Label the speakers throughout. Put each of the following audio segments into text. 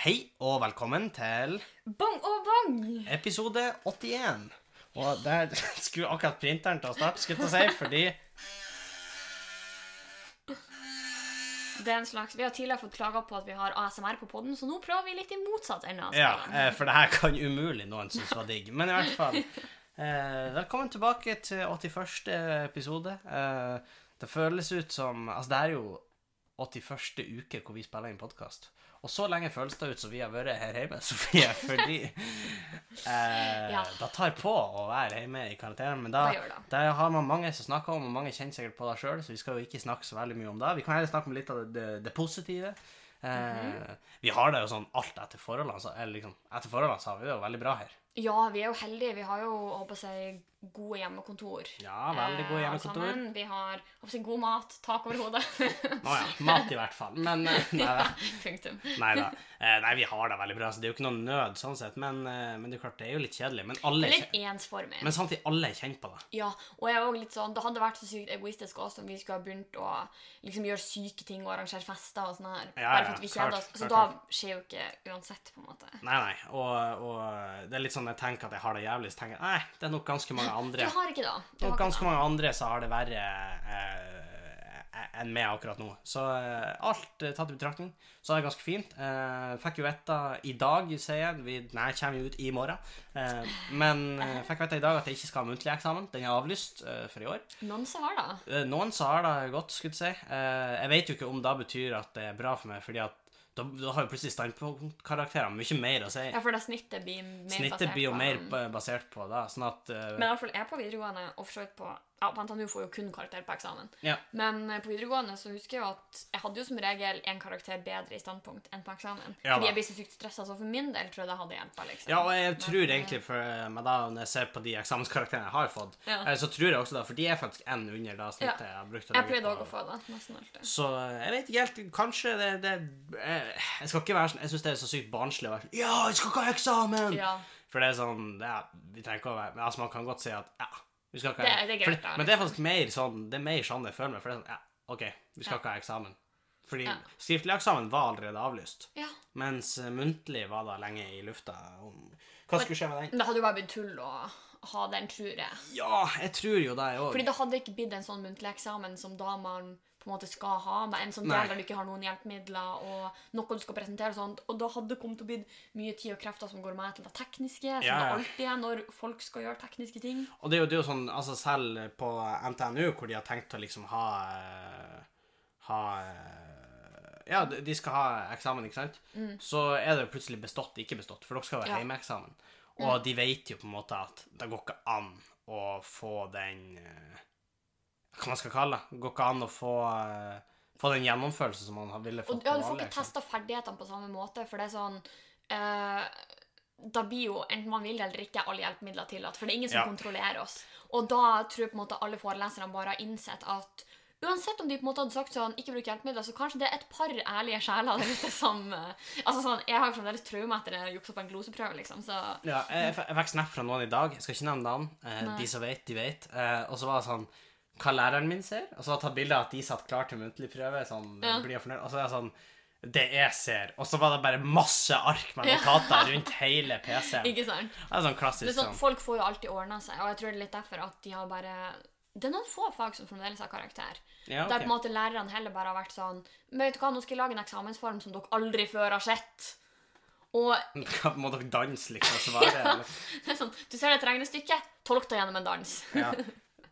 Speaker 1: Hei og velkommen til
Speaker 2: Bong og bong!
Speaker 1: episode 81. Og der skulle akkurat printeren til å starte, skulle jeg til å si, fordi
Speaker 2: Det er en slags, Vi har tidligere fått klager på at vi har ASMR på podden, så nå prøver vi litt i motsatt ende. av
Speaker 1: Ja,
Speaker 2: skalaen.
Speaker 1: eh, for det her kan umulig noen synes var digg. Men i hvert fall eh, Velkommen tilbake til 81. episode. Eh, det føles ut som Altså, det er jo 81. uke hvor vi spiller inn podkast. Og så lenge føles det ut som vi har vært her hjemme, Sofie, fordi eh,
Speaker 2: Ja.
Speaker 1: Det tar på å være hjemme i karantene, men da
Speaker 2: Hva gjør det?
Speaker 1: Det har man mange som snakker om, og mange kjenner sikkert på det sjøl, så vi skal jo ikke snakke så veldig mye om det. Vi kan heller snakke om litt av det, det, det positive. Eh, Vi har det jo sånn alt etter forholdene, så, eller liksom, etter forholdene så har vi det jo veldig bra her.
Speaker 2: Ja, vi er jo heldige. Vi har jo håper jeg, å si, gode hjemmekontor.
Speaker 1: Ja, veldig god
Speaker 2: Eh,
Speaker 1: hjemmekontor.
Speaker 2: alle sammen. Vi har håper jeg, god mat, tak over hodet.
Speaker 1: Nå ja, mat i hvert fall. Men eh, nei da.
Speaker 2: Punktum.
Speaker 1: Nei, da. Eh, nei, vi har det veldig bra, så det er jo ikke noe nød sånn sett. Men, eh, men det er klart, det er jo litt kjedelig. Men, alle er
Speaker 2: Litt
Speaker 1: kje-
Speaker 2: ensformig.
Speaker 1: men samtidig, alle er kjent på det.
Speaker 2: Ja, og jeg er også litt sånn, Det hadde vært så sykt egoistisk også om vi skulle ha begynt å liksom gjøre syke ting og arrangere fester. og sånn her,
Speaker 1: Ja,
Speaker 2: bare
Speaker 1: ja,
Speaker 2: for at vi
Speaker 1: klart,
Speaker 2: kjeder oss. Så
Speaker 1: klart,
Speaker 2: da skjer jo ikke uansett, på en måte.
Speaker 1: Nei, nei. Og, og det er litt sånn jeg tenker at jeg har det jævlig, så tenker jeg nei, det er nok ganske mange andre.
Speaker 2: Du har ikke da.
Speaker 1: Og
Speaker 2: Du har ikke
Speaker 1: ganske mange andre så har det verre eh, enn meg akkurat nå. Så eh, alt eh, tatt i betraktning, så er det ganske fint. Eh, fikk jo vite i dag, sier jeg. Vi, nei, kommer jo ut i morgen. Eh, men eh, fikk vite i dag at jeg ikke skal ha muntlig eksamen. Den er avlyst eh, for i år.
Speaker 2: da. Noen som har da.
Speaker 1: Eh, Noen sa det godt, skulle jeg si. Eh, Jeg vet jo ikke om det betyr at det er bra for meg, fordi at da, da har jo plutselig standpunktkarakterene mye mer å si.
Speaker 2: Ja, for da snittet blir mer
Speaker 1: Snittet
Speaker 2: basert
Speaker 1: blir jo
Speaker 2: på-
Speaker 1: mer ba- basert på det, sånn at eh,
Speaker 2: Men i hvert fall jeg på videregående og for så vidt på Ja, på NTNU får jo kun karakter på eksamen.
Speaker 1: Ja.
Speaker 2: Men eh, på videregående så husker jeg jo at jeg hadde jo som regel en karakter bedre i standpunkt enn på eksamen.
Speaker 1: Ja da.
Speaker 2: fordi jeg blir så sykt stressa, så for min del tror jeg det hadde hjulpet. Liksom.
Speaker 1: Ja, og jeg
Speaker 2: Men,
Speaker 1: tror
Speaker 2: eh,
Speaker 1: egentlig, for, men da når jeg ser på de eksamenskarakterene jeg har fått,
Speaker 2: Ja.
Speaker 1: eh, så tror jeg også det, for de er faktisk én under da snittet jeg har brukt. å
Speaker 2: Jeg
Speaker 1: legge
Speaker 2: pleide
Speaker 1: på.
Speaker 2: òg å få det. Nesten alltid.
Speaker 1: Så eh, jeg vet ikke helt, kanskje det, det eh, Jeg skal ikke være sånn Jeg syns det er så sykt barnslig å være sånn Ja, jeg skal ikke ha eksamen!
Speaker 2: Ja.
Speaker 1: For det er sånn det er, Vi trenger ikke å være men altså, Man kan godt si at ja, vi skal ikke
Speaker 2: Det er- det er greit,
Speaker 1: Fordi-
Speaker 2: da, liksom.
Speaker 1: Men det er faktisk mer sånn Det er mer sånn jeg føler meg. For det er sånn Ja, OK, vi skal
Speaker 2: Ja.
Speaker 1: ikke ha eksamen. Fordi
Speaker 2: Ja.
Speaker 1: skriftlig eksamen var allerede avlyst.
Speaker 2: ja.
Speaker 1: Mens eh, muntlig var da lenge i lufta om Hva skulle skje med den?
Speaker 2: Men det hadde jo bare blitt tull å ha den, tror jeg.
Speaker 1: Ja, jeg tror jo det, jeg òg.
Speaker 2: Fordi det hadde ikke blitt en sånn muntlig eksamen som da man på en måte skal ha, med en sånn
Speaker 1: Nei.
Speaker 2: del der du ikke har noen hjelpemidler, og noe du skal presentere og sånt. Og da hadde det kommet til å bli mye tid og krefter som går med til det tekniske, som
Speaker 1: Ja, ja.
Speaker 2: det alltid er når folk skal gjøre tekniske ting.
Speaker 1: Og det er, jo, det er jo sånn, altså selv på NTNU, hvor de har tenkt å liksom ha eh, Ha eh, Ja, de de skal ha eksamen, ikke sant? Så er det jo plutselig bestått, ikke bestått, for dere skal jo ha
Speaker 2: Mm. Ja. Mm.
Speaker 1: hjemmeeksamen. Og de vet jo på en måte at det går ikke an å få den eh, Hva man skal kalle det? Det går ikke an å få, eh, få den gjennomførelsen som man ville fått liksom.
Speaker 2: Og ja, du
Speaker 1: på
Speaker 2: får
Speaker 1: vanlig
Speaker 2: ikke
Speaker 1: eksamen.
Speaker 2: testa ferdighetene på samme måte, for det er sånn eh, Da blir jo enten man vil eller ikke alle hjelpemidler tillatt, for det er ingen som
Speaker 1: Ja.
Speaker 2: kontrollerer oss. Og da tror jeg på en måte alle foreleserne bare har innsett at Uansett om de på en måte hadde sagt sånn, ikke bruk hjelpemidler, så kanskje det er et par ærlige sjeler der ute som eh, Altså sånn, Jeg har jo fremdeles traume etter å jukse på en gloseprøve, liksom, så
Speaker 1: Ja, jeg, f- jeg fikk snap fra noen i dag. Jeg skal ikke nevne navn. Eh, de som vet, de vet. Eh, og så var det sånn Hva læreren min ser? Og så var det tatt bilde av at de satt klar til muntlig prøve. Sånn,
Speaker 2: Ja.
Speaker 1: blir jeg fornøyd? Og så er det sånn Det jeg ser. Og så var det bare masse ark med notater rundt hele PC-en.
Speaker 2: Ikke sant?
Speaker 1: Det er sånn klassisk
Speaker 2: Det er sånn,
Speaker 1: sånn.
Speaker 2: Folk får jo alltid ordna seg, og jeg tror det er litt derfor at de har bare Det er noen få fag som fremdeles har karakter.
Speaker 1: sånn. Ja,
Speaker 2: Der på en
Speaker 1: ok.
Speaker 2: måte lærerne heller bare har vært sånn Men vet du hva, nå skal jeg lage en eksamensform som dere aldri før har sett. Og
Speaker 1: Må dere danse, liksom, og svare? eller?
Speaker 2: det er sånn, du ser et regnestykke, tolk det gjennom en dans.
Speaker 1: Ja.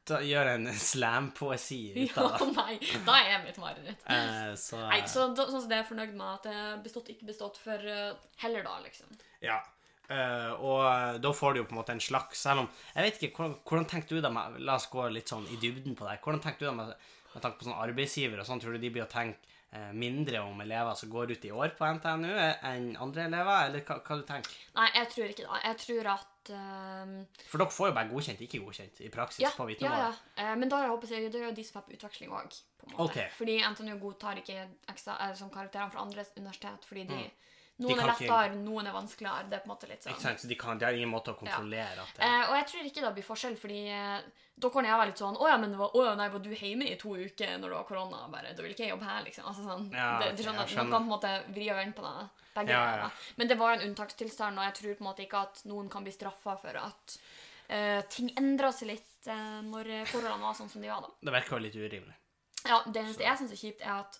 Speaker 1: Da gjør en slam-poesi ut
Speaker 2: Ja,
Speaker 1: av det.
Speaker 2: Oh nei, da er jeg mitt mareritt.
Speaker 1: Eh, så,
Speaker 2: Nei, så da, sånn som det er jeg fornøyd med at det er bestått, ikke bestått, for eh, heller da, liksom.
Speaker 1: Ja. Eh, og da får du jo på en måte en slags Selv om Jeg vet ikke, hvordan, hvordan tenkte du det med La oss gå litt sånn i dybden på det. her. Hvordan tenkte du det med, med tanke på sånn arbeidsgiver og sånn? Tror du de blir å tenke eh, mindre om elever som går ut i år på NTNU, eh, enn andre elever? Eller hva, hva du tenker?
Speaker 2: Nei, jeg tror ikke det. Jeg tror at eh,
Speaker 1: For dere får jo bare godkjent, ikke godkjent, i praksis
Speaker 2: Ja,
Speaker 1: på
Speaker 2: ja,
Speaker 1: vitnemålet.
Speaker 2: ja. Eh, Men da er jeg håper jeg, det er jo de som får på utveksling òg.
Speaker 1: Ok.
Speaker 2: Fordi NTNU godtar ikke ekstra, eh, som karakterene fra andre universitet fordi de, Noen
Speaker 1: Mm.
Speaker 2: er
Speaker 1: kan ikke-
Speaker 2: lettere, noen er vanskeligere. Det er på en måte litt sånn.
Speaker 1: Ikke sant? Så de, kan, de har ingen måte å kontrollere at det
Speaker 2: Eh, og jeg tror ikke det blir forskjell, fordi eh, da kan jeg være litt sånn Å ja, men var, å, ja, nei, var du hjemme i to uker når det var korona? Bare, da vil ikke jeg jobbe her, liksom. Altså, sånn,
Speaker 1: Ja,
Speaker 2: det,
Speaker 1: ok,
Speaker 2: du skjønner, at
Speaker 1: jeg
Speaker 2: Man kan på en måte vri og vende på det. Begge
Speaker 1: Ja, ja,
Speaker 2: deler.
Speaker 1: ja.
Speaker 2: Men det var en unntakstilstand, og jeg tror på en måte ikke at noen kan bli straffa for at eh, ting endra seg litt eh, når forholdene var sånn som de var da.
Speaker 1: Det virker jo litt urimelig.
Speaker 2: Ja, Det eneste jeg syns er kjipt, er at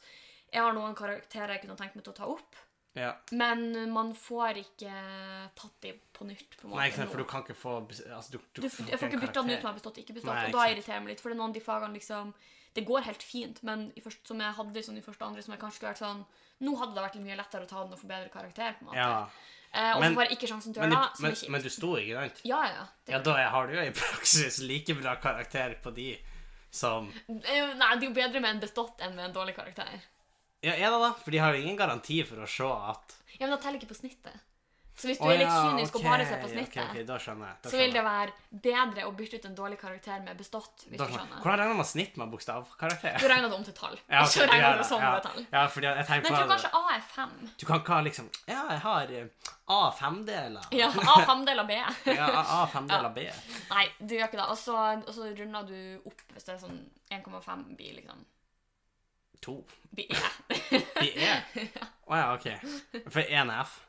Speaker 2: jeg har noen karakterer jeg kunne tenkt meg til å ta opp,
Speaker 1: Ja.
Speaker 2: men man får ikke tatt dem på nytt. på en måte.
Speaker 1: Nei, ikke sant, for
Speaker 2: nå.
Speaker 1: du kan ikke få bes- altså, du, du
Speaker 2: Du, jeg får
Speaker 1: en
Speaker 2: ikke bytta den ut
Speaker 1: karakter.
Speaker 2: når jeg har bestått, ikke bestått.
Speaker 1: Nei,
Speaker 2: og
Speaker 1: ikke
Speaker 2: da
Speaker 1: sant.
Speaker 2: irriterer jeg meg litt. For det er noen av de fagene liksom Det går helt fint, men i først, som jeg hadde sånn, i første og andre, som jeg kanskje skulle vært sånn Nå hadde det vært litt mye lettere å ta den og få bedre karakter. på en måte.
Speaker 1: Ja.
Speaker 2: Eh, og så
Speaker 1: Men-
Speaker 2: bare ikke sjansen til å
Speaker 1: Men,
Speaker 2: gjøre det,
Speaker 1: du-
Speaker 2: som er
Speaker 1: men,
Speaker 2: kjipt.
Speaker 1: men du sto, ikke sant?
Speaker 2: Ja, ja. Det,
Speaker 1: Ja, da er- har du jo i praksis like bra karakter på de som
Speaker 2: Eh, Nei, det er jo bedre med en bestått enn med en dårlig karakter.
Speaker 1: Ja, er det da? For de har jo ingen garanti for å se at
Speaker 2: Ja, men da teller ikke på snittet. Så hvis du
Speaker 1: Å
Speaker 2: er litt
Speaker 1: ja,
Speaker 2: kynisk
Speaker 1: ok,
Speaker 2: og bare ser på
Speaker 1: ok,
Speaker 2: snittet,
Speaker 1: ok, da skjønner jeg. Da
Speaker 2: så vil
Speaker 1: skjønner
Speaker 2: det være bedre å bytte ut en dårlig karakter med bestått,
Speaker 1: jeg.
Speaker 2: hvis
Speaker 1: Da
Speaker 2: du
Speaker 1: skjønner jeg.
Speaker 2: skjønner.
Speaker 1: Hvordan regner man snitt med bokstavkarakter?
Speaker 2: Du regner det om til tall.
Speaker 1: Ja,
Speaker 2: og
Speaker 1: ok,
Speaker 2: så
Speaker 1: du gjør
Speaker 2: regner du
Speaker 1: det,
Speaker 2: sånn
Speaker 1: ja.
Speaker 2: med tall.
Speaker 1: Ja, fordi jeg tenker
Speaker 2: Men
Speaker 1: på
Speaker 2: jeg tror
Speaker 1: det.
Speaker 2: kanskje A er fem.
Speaker 1: Du kan ikke ha liksom Ja, jeg har eh, A femdeler.
Speaker 2: Ja, A femdel av B.
Speaker 1: Ja, A, A femdeler B.
Speaker 2: Nei, du gjør ikke det. Og så, og så runder du opp hvis det er sånn 1,5 bi, liksom.
Speaker 1: To.
Speaker 2: Bi E.
Speaker 1: De er Å ja, OK. For én er F.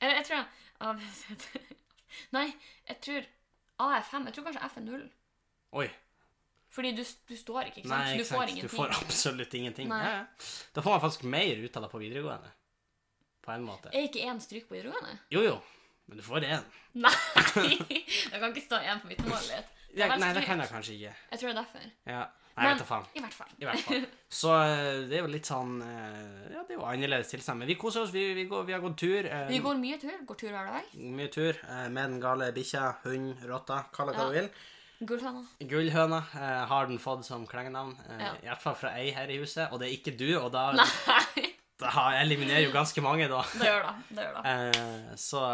Speaker 2: Eller jeg tror A, B, C, D. Nei, jeg tror A er 5. Jeg tror kanskje F er 0.
Speaker 1: Oi.
Speaker 2: Fordi du, du står ikke, ikke sant?
Speaker 1: Nei,
Speaker 2: så du
Speaker 1: ikke
Speaker 2: får
Speaker 1: sant. Du
Speaker 2: ingenting.
Speaker 1: får absolutt ingenting.
Speaker 2: Nei.
Speaker 1: Ja, ja. Da får man faktisk mer ut av det på videregående. På en måte.
Speaker 2: Er ikke én stryk på videregående?
Speaker 1: Jo, jo. Men du får én.
Speaker 2: Nei! Det kan ikke stå én på vitnemålet ditt. Det
Speaker 1: Ja,
Speaker 2: er vel
Speaker 1: nei, det
Speaker 2: stryk.
Speaker 1: kan jeg kanskje ikke.
Speaker 2: Jeg tror det er derfor.
Speaker 1: Ja. Nei,
Speaker 2: Men-
Speaker 1: vet da faen.
Speaker 2: I hvert fall.
Speaker 1: I hvert fall. Så eh, det er jo litt sånn eh, Ja, det er jo annerledes tilstand. Men vi koser oss. Vi, vi, går, vi har gått tur. eh,
Speaker 2: Vi går mye tur. Går tur hver dag.
Speaker 1: Mye tur. eh, Med den gale bikkja, hund, rotta, kall det hva
Speaker 2: Ja.
Speaker 1: du vil.
Speaker 2: Gulltanna.
Speaker 1: Gullhøna eh, har den fått som klengenavn. eh,
Speaker 2: Ja.
Speaker 1: I hvert fall fra ei her i huset, og det er ikke du, og da,
Speaker 2: Nei!
Speaker 1: da har- eliminerer jo ganske mange, da.
Speaker 2: Det gjør det. Det gjør det.
Speaker 1: Eh, så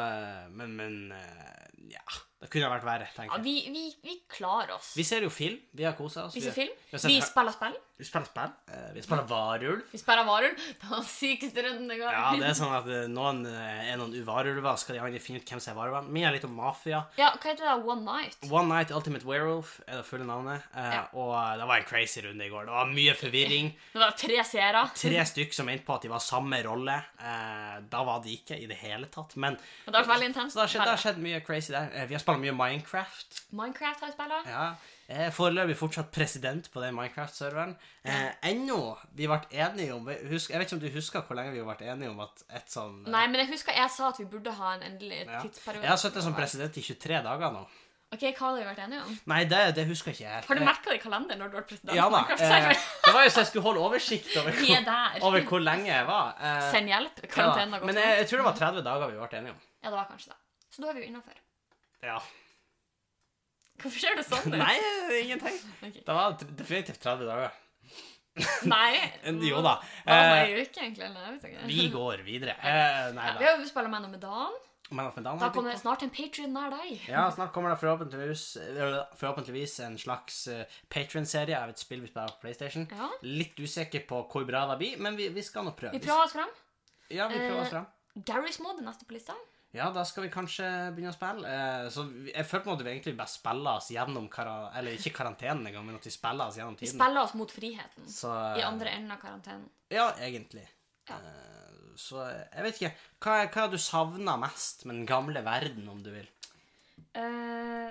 Speaker 1: eh, Men, men eh, Ja. Det kunne vært verre,
Speaker 2: Ja,
Speaker 1: tenker jeg.
Speaker 2: vi, vi, vi klarer oss.
Speaker 1: Vi ser jo film. Vi har kosa oss.
Speaker 2: Vi ser
Speaker 1: vi,
Speaker 2: film.
Speaker 1: har sett
Speaker 2: Vi
Speaker 1: her-
Speaker 2: spiller spill.
Speaker 1: vi spiller spill. eh, vi spiller varulv.
Speaker 2: Vi sperra varulv. Det var den sykeste runden det går.
Speaker 1: Ja, det er sånn at eh, noen eh, er noen uvarulver, skal de andre finne ut hvem som er varulven. Min er litt om mafia.
Speaker 2: Ja, hva heter det? One Night?
Speaker 1: One Night Ultimate Werewolf er det fulle navnet. eh,
Speaker 2: Ja.
Speaker 1: Og eh, det var en crazy runde i går. Det var mye forvirring.
Speaker 2: Det var tre seere.
Speaker 1: tre stykk som mente på at de var samme rolle. Eh, da var de ikke i det hele tatt. Men
Speaker 2: Men Det var veldig intenst.
Speaker 1: så det har skjedd, det har skjedd mye crazy der. Eh, vi har spilt mye Minecraft.
Speaker 2: Minecraft har jeg spilla.
Speaker 1: Ja. Jeg er foreløpig fortsatt president på den Minecraft-serveren. Eh, ennå Vi ble enige om husk, Jeg vet ikke om du husker hvor lenge vi ble enige om at et sånn eh,
Speaker 2: Nei, men jeg husker jeg sa at vi burde ha en endelig
Speaker 1: ja.
Speaker 2: tidsperiode.
Speaker 1: Jeg har sittet som president i 23 dager nå.
Speaker 2: Ok, Hva har vi vært enige om?
Speaker 1: Nei, det, det husker jeg ikke helt. Eh,
Speaker 2: Har du merka det i kalenderen når du var president?
Speaker 1: Ja
Speaker 2: for
Speaker 1: da.
Speaker 2: Minecraft?
Speaker 1: Eh, det var jo så jeg skulle holde oversikt over
Speaker 2: vi er
Speaker 1: hvor,
Speaker 2: der.
Speaker 1: over hvor lenge jeg var. Eh,
Speaker 2: Send hjelp.
Speaker 1: ja,
Speaker 2: Karantene har gått
Speaker 1: men jeg, jeg tror det var 30 dager vi ble enige om.
Speaker 2: Ja, det var kanskje det. Så da er vi jo innafor.
Speaker 1: Ja.
Speaker 2: Hvorfor ser det sånn ut?
Speaker 1: Nei, ingenting.
Speaker 2: Ok.
Speaker 1: Det var definitivt 30 dager.
Speaker 2: Nei.
Speaker 1: Jo da.
Speaker 2: Hva var
Speaker 1: Eh,
Speaker 2: det i uke, egentlig? Eller? Jeg vet ikke.
Speaker 1: vi går videre. Eh, nei
Speaker 2: Ja, vi
Speaker 1: da.
Speaker 2: har jo spilla med noe med Dan.
Speaker 1: Men at med Dan
Speaker 2: Da
Speaker 1: har vi
Speaker 2: kommer det snart en Patrion nær deg.
Speaker 1: Ja, snart kommer det forhåpentligvis, eller forhåpentligvis en slags Patron-serie av et spill vi spiller på PlayStation.
Speaker 2: Ja.
Speaker 1: Litt usikker på hvor bra det blir, men vi, vi skal nå prøve.
Speaker 2: Vi prøver Eh. oss fram.
Speaker 1: Ja, vi prøver oss fram.
Speaker 2: Garry's Mod er neste på lista.
Speaker 1: Ja, da skal vi kanskje begynne å spille. Eh, Så vi- jeg føler på en måte vi egentlig bare spiller oss gjennom kara Eller ikke karantenen engang, men at vi spiller oss gjennom
Speaker 2: Vi
Speaker 1: tiden.
Speaker 2: spiller oss mot friheten.
Speaker 1: Så, eh,
Speaker 2: I andre enden av karantenen.
Speaker 1: Ja, egentlig.
Speaker 2: Ja.
Speaker 1: Eh, Så jeg vet ikke. Hva, hva har du savna mest med den gamle verden, om du vil?
Speaker 2: Eh,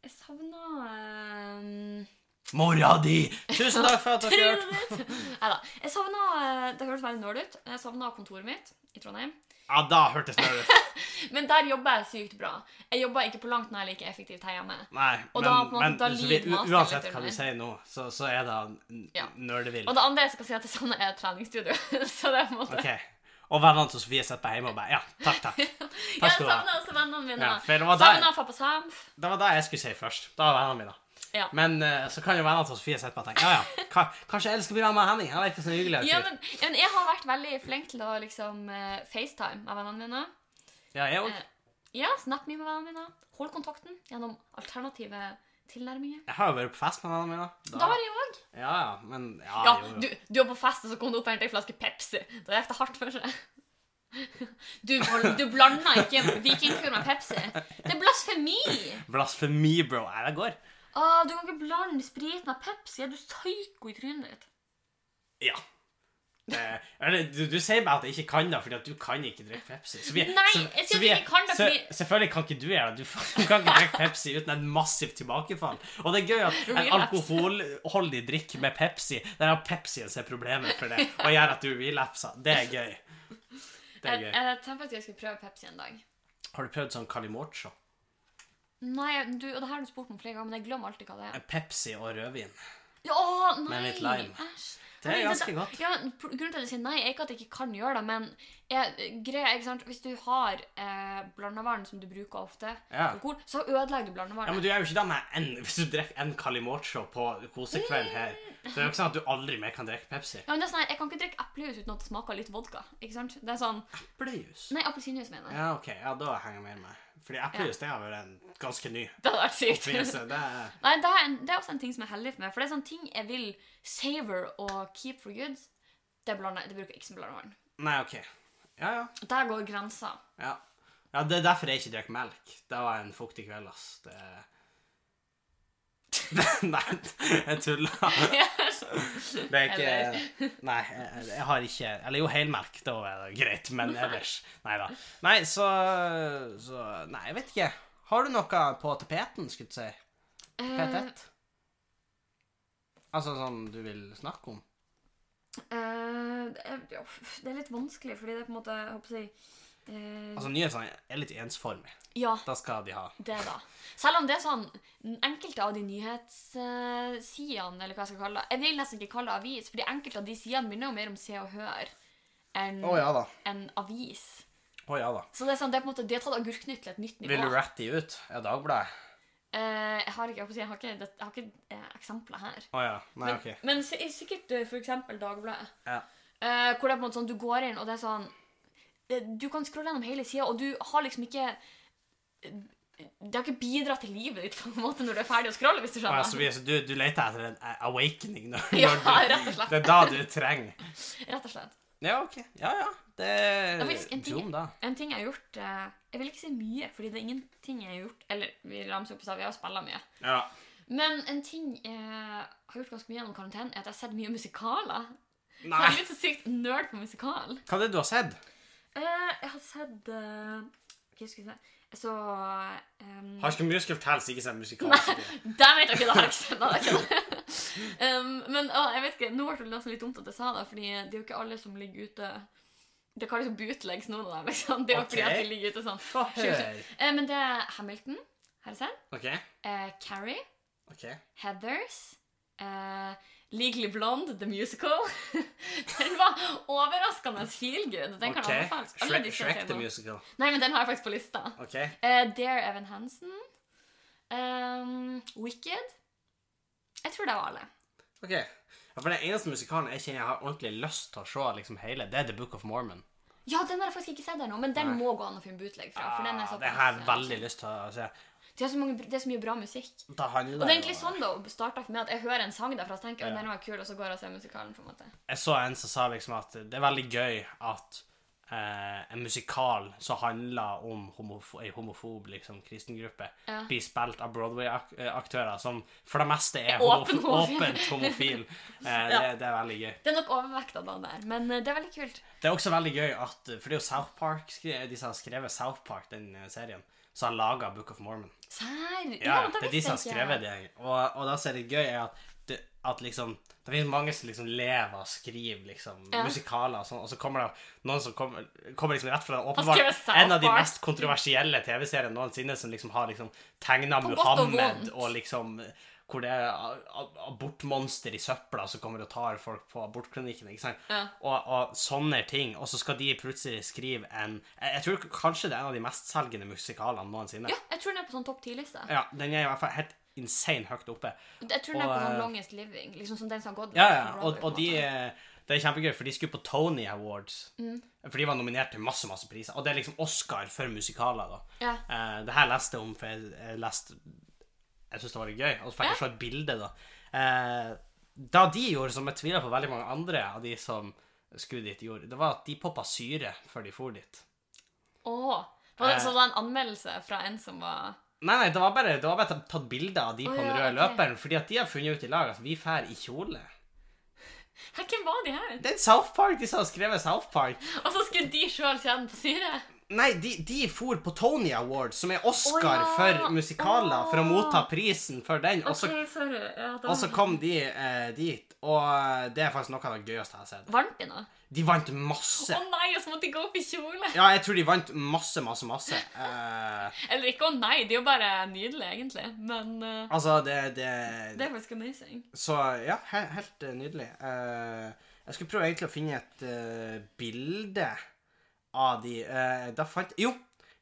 Speaker 2: jeg eh, savna
Speaker 1: Mora di! Tusen takk for at dere hørte på.
Speaker 2: Nei da. Jeg savna Det hørtes veldig nerd ut. Jeg savna kontoret mitt i Trondheim.
Speaker 1: Ja, da hørtes det ut.
Speaker 2: Men der jobber jeg sykt bra. Jeg jobber ikke på langt nær like effektivt her hjemme.
Speaker 1: Nei,
Speaker 2: Og
Speaker 1: men,
Speaker 2: da på en måte,
Speaker 1: men
Speaker 2: da
Speaker 1: så
Speaker 2: lider
Speaker 1: vi,
Speaker 2: man av
Speaker 1: uansett
Speaker 2: skeletter
Speaker 1: hva du
Speaker 2: med.
Speaker 1: sier nå, så, så er det n-
Speaker 2: Ja.
Speaker 1: nerdevill.
Speaker 2: Og det andre jeg skal si at jeg savner, er treningsstudio. Så det er på en måte
Speaker 1: Ok. Og vennene til Sofie sitter hjemme og bare Ja, takk, takk.
Speaker 2: Jeg
Speaker 1: Takk skal du ha.
Speaker 2: savner også vennene mine.
Speaker 1: Ja, for det var der-
Speaker 2: savner pappa Sam.
Speaker 1: Det var det jeg skulle si først. Da var vennene mine.
Speaker 2: Ja.
Speaker 1: Men eh, så kan jo vennene til Sofie sitte på og tenke Ja, ja, ka, kanskje jeg skal bli venn med Henning. Han virker som en hyggelig
Speaker 2: Ja
Speaker 1: fyr.
Speaker 2: men, ja, men jeg har vært veldig flink til å liksom eh, FaceTime med vennene mine.
Speaker 1: Ja, jeg òg.
Speaker 2: Eh, Ja, snap me med vennene mine. Hold kontakten gjennom alternative tilnærminger.
Speaker 1: Jeg har jo vært på fest med vennene mine.
Speaker 2: Da var jeg òg.
Speaker 1: Ja, ja, men Ja,
Speaker 2: Ja,
Speaker 1: jo, jo.
Speaker 2: du, du var på fest, og så kom det opp og hentet ei flaske Pepsi. Da gikk det hardt for seg. Du Du, du blanda ikke vikingkur med Pepsi. Det er blasfemi!
Speaker 1: Blasfemi, bro. Her jeg går.
Speaker 2: Åh, du kan ikke blande sprit med Pepsi. Er du psyko i trynet ditt?
Speaker 1: Ja. Eh, eller, du, du sier bare at jeg ikke kan det, fordi at du kan ikke drikke Pepsi. Så vi-
Speaker 2: Nei, jeg sier at jeg
Speaker 1: vi-
Speaker 2: ikke kan det,
Speaker 1: så-
Speaker 2: fordi-
Speaker 1: Selvfølgelig kan ikke du gjøre det. Du, du kan ikke drikke Pepsi uten et massivt tilbakefall. Og det er gøy at en
Speaker 2: Relapse.
Speaker 1: alkoholholdig drikk med Pepsi, der har Pepsien som er problemet for det, og gjør at du relapser. Det er gøy. Det er
Speaker 2: Jeg,
Speaker 1: gøy.
Speaker 2: jeg tenkte faktisk jeg skulle prøve Pepsi en dag.
Speaker 1: Har du prøvd sånn Calimocho?
Speaker 2: Nei, du, og det her har du spurt meg flere ganger, men jeg glemmer alltid hva det er.
Speaker 1: Eh, Pepsi og rødvin.
Speaker 2: Åh, nei!
Speaker 1: Med litt lime.
Speaker 2: Æsj.
Speaker 1: Det
Speaker 2: Nei,
Speaker 1: er ganske godt.
Speaker 2: Ja, men pr- grunnen til at jeg sier nei, er ikke at jeg ikke kan gjøre det, men jeg, greia, er, ikke sant? hvis du har eh, blandevann som du bruker ofte,
Speaker 1: Ja.
Speaker 2: alkohol, så ødelegger du
Speaker 1: Ja,
Speaker 2: blandevannet.
Speaker 1: men du gjør jo ikke det med en, Hvis du drikker en Calimocho på kosekvelden her, så er det jo ikke sånn at du aldri mer kan drikke Pepsi.
Speaker 2: Ja, men det er sånn, her, jeg kan ikke drikke eplejus uten at det smaker litt vodka. ikke sant? Det er sånn,
Speaker 1: Eplejus.
Speaker 2: Nei, appelsinjus, mener jeg.
Speaker 1: Ja, ok. Ja, da henger jeg mer med. Fordi eplejus, det har vært en ganske ny
Speaker 2: Det hadde vært sykt.
Speaker 1: oppfinnelse. Det er
Speaker 2: Nei, det er, en, det er også en ting som er heldig for meg. For det er sånn ting jeg vil savor og keep for good. Det, blander, det bruker jeg ikke som blandevann.
Speaker 1: Nei, ok. Ja, ja.
Speaker 2: Der går grensa.
Speaker 1: Ja, ja det er derfor jeg ikke drakk melk. Det var en fuktig kveld, ass. Det... Nei, jeg tuller. Det er ikke Nei, jeg, jeg har ikke Eller jo, helmelk, da er det greit, men ellers Nei da. Nei, så, så Nei, jeg vet ikke. Har du noe på tapeten, skulle du si?
Speaker 2: Eh,
Speaker 1: P1? Altså sånn du vil snakke om?
Speaker 2: eh, det er- uff, det er litt vanskelig, fordi det er på en måte jeg håper å si, eh,
Speaker 1: Altså, nyhetene er litt ensformige.
Speaker 2: Ja,
Speaker 1: Da skal de ha
Speaker 2: det da. Selv om det er sånn Enkelte av de nyhetssidene, eller hva jeg skal kalle det Jeg vil nesten ikke kalle det avis, fordi enkelte av de sidene minner jo mer om Se og Hør enn
Speaker 1: da.
Speaker 2: enn avis.
Speaker 1: Å ja da.
Speaker 2: Så det er sånn, det er på en måte, de har tatt agurknytt til et nytt nivå.
Speaker 1: Vil du ratte de ut? Er Dagbladet?
Speaker 2: Eh, jeg har ikke, jeg håper å si, jeg har ikke, det- jeg har ikke eh, eksempler her.
Speaker 1: Å ja. Nei,
Speaker 2: Men,
Speaker 1: Ah, ok.
Speaker 2: men si- sikkert eh, for eksempel Dagbladet.
Speaker 1: Ja.
Speaker 2: Eh, hvor det er på en måte sånn, du går inn, og det er sånn eh, Du kan scrolle gjennom hele sida, og du har liksom ikke eh, Det har ikke bidratt til livet ditt på en måte når du er ferdig å scrolle, hvis du
Speaker 1: Å
Speaker 2: skjønner.
Speaker 1: ja, så vi, så du, du leter etter en eh, awakening når,
Speaker 2: Ja,
Speaker 1: når du,
Speaker 2: rett og slett.
Speaker 1: Det er da du trenger.
Speaker 2: Rett og slett.
Speaker 1: Ja, ok. Ja, ja. Det
Speaker 2: Det er faktisk en ting-
Speaker 1: Zoom, da.
Speaker 2: En ting jeg har gjort eh, Jeg vil ikke si mye, fordi det er ingenting jeg har gjort Eller vi ramser opp i stad, vi har spilla mye.
Speaker 1: Ja.
Speaker 2: Men en ting jeg har gjort ganske mye gjennom karantenen, er at jeg har sett mye musikaler. Så
Speaker 1: Nei,
Speaker 2: Jeg er litt så sykt nerd på musikal.
Speaker 1: hva er det du har sett?
Speaker 2: Eh, jeg har sett eh, Hva skal jeg si Jeg så um,
Speaker 1: Har ikke Musical Tales ikke sett musikalsk?
Speaker 2: Der vet jeg ikke, det har jeg ikke sett. det har jeg ikke. um, men å, jeg vet ikke, nå ble det nesten litt dumt at jeg sa det, Fordi det er jo ikke alle som ligger ute Det kalles jo bootlegs, noen av dem. Liksom. Det er jo fordi
Speaker 1: Ok.
Speaker 2: at de ligger ute sånn.
Speaker 1: Få høre.
Speaker 2: Eh, men det er Hamilton, har jeg sett.
Speaker 1: OK.
Speaker 2: Eh, Carrie.
Speaker 1: ok.
Speaker 2: Heathers. eh, Legally Blonde, The Musical. den var overraskende feel good. Den kan
Speaker 1: ok.
Speaker 2: anbefales. Alle
Speaker 1: Shrek,
Speaker 2: disse
Speaker 1: Shrek
Speaker 2: ser
Speaker 1: the
Speaker 2: nå.
Speaker 1: Musical.
Speaker 2: Nei, men den har jeg faktisk på lista.
Speaker 1: OK.
Speaker 2: Eh, Dare Evan Hansen. Ehm, Wicked. Jeg tror det var alle.
Speaker 1: ok. Ja, for Den eneste musikalen jeg kjenner jeg har ordentlig lyst til å se liksom hele, det er The Book of Mormon.
Speaker 2: Ja, den har jeg faktisk ikke sett ennå, men den
Speaker 1: Nei.
Speaker 2: må gå an å finne bootleg fra. For den er altså.
Speaker 1: Ah,
Speaker 2: såpass-
Speaker 1: det har jeg veldig lyst til å se.
Speaker 2: Det er, så mange, det er så mye bra musikk.
Speaker 1: Da handler
Speaker 2: Og det
Speaker 1: jo-
Speaker 2: er egentlig sånn det starta for meg, at jeg hører en sang derfra og tenker at
Speaker 1: Ja.
Speaker 2: den var kul, og så går jeg og ser musikalen. på en måte.
Speaker 1: Jeg så en som sa liksom at det er veldig gøy at eh, en musikal som handler om homof ei homofob liksom, kristen gruppe,
Speaker 2: Ja.
Speaker 1: blir spilt av Broadway-aktører som for det meste er
Speaker 2: Åpen
Speaker 1: homof
Speaker 2: homofil.
Speaker 1: åpent homofil. Eh, det, det er veldig gøy.
Speaker 2: Det er nok overvekt av den der, men eh, det er veldig kult.
Speaker 1: Det er også veldig gøy at For det er jo South Park, skri- de som har skrevet South Park, den eh, serien, som har laga Book of Mormon.
Speaker 2: Serr?
Speaker 1: Ja, det er de som har
Speaker 2: visste jeg ikke.
Speaker 1: skrevet det. Og, og da ser det gøy er at, det, at liksom Det finnes mange som liksom lever og skriver liksom,
Speaker 2: Ja.
Speaker 1: musikaler og sånn, og så kommer det noen som kommer, kommer liksom rett fra
Speaker 2: skriver
Speaker 1: åpenbart
Speaker 2: South
Speaker 1: en av de
Speaker 2: Park.
Speaker 1: mest kontroversielle TV-seriene noensinne, som liksom har liksom tegna
Speaker 2: På godt og
Speaker 1: Muhammed
Speaker 2: vondt.
Speaker 1: og liksom hvor det er a- a- abortmonster i søpla som kommer og tar folk på abortklinikken. ikke sant?
Speaker 2: Ja.
Speaker 1: Og, og sånne ting. Og så skal de plutselig skrive en Jeg, jeg tror kanskje det er en av de mestselgende musikalene noensinne.
Speaker 2: Ja, jeg tror den er på sånn topp 10-liste.
Speaker 1: Ja, den er i hvert fall helt insane høyt oppe.
Speaker 2: Jeg tror den er
Speaker 1: Og,
Speaker 2: på sånn
Speaker 1: eh,
Speaker 2: Longest Living, liksom som den som har gått.
Speaker 1: Ja, ja,
Speaker 2: på Broadway,
Speaker 1: og,
Speaker 2: på en
Speaker 1: og de
Speaker 2: måte.
Speaker 1: Det er kjempegøy, for de skulle på Tony Awards.
Speaker 2: Mm.
Speaker 1: For de var nominert til masse, masse priser. Og det er liksom Oscar for musikaler, da.
Speaker 2: Ja.
Speaker 1: Eh, det her leste jeg om, for jeg, jeg leste Jeg syntes det var litt gøy. Og så fikk jeg se et bilde, da. Eh, da de gjorde, som jeg tviler på veldig mange andre av de som skulle dit, gjorde, det var at de poppa syre før de for dit.
Speaker 2: Åh, var det
Speaker 1: Eh.
Speaker 2: så det var en anmeldelse fra en som var
Speaker 1: Nei, nei, det var bare, det var bare tatt- tatt bilder av de
Speaker 2: Å,
Speaker 1: på den
Speaker 2: ja,
Speaker 1: røde
Speaker 2: ok.
Speaker 1: løperen, fordi at de har funnet ut i lag at vi fær i kjole.
Speaker 2: Hæ, hvem var de her?
Speaker 1: Det er South Park, de som har skrevet South Park.
Speaker 2: Og så skulle de sjøl kjenne på syre?
Speaker 1: Nei, de, de for på Tony Awards, som er Oscar
Speaker 2: Å, ja.
Speaker 1: for musikaler, for å
Speaker 2: Å.
Speaker 1: motta prisen for den, og så,
Speaker 2: OK, sorry. Ja, da...
Speaker 1: og så kom de eh, dit, og eh, det er faktisk noe av det gøyeste jeg har sett.
Speaker 2: Vant de nå?
Speaker 1: De vant
Speaker 2: Å
Speaker 1: masse.
Speaker 2: nei, og så måtte de gå opp i kjole!
Speaker 1: Ja, jeg tror de vant masse, masse, masse. Eh,
Speaker 2: Eller ikke å nei, det er jo bare nydelig, egentlig. Men eh,
Speaker 1: altså, det, det,
Speaker 2: det er faktisk amazing.
Speaker 1: Så ja, he helt eh, nydelig. Eh, jeg skulle prøve egentlig å finne et eh, bilde av de. eh, da fant Jo,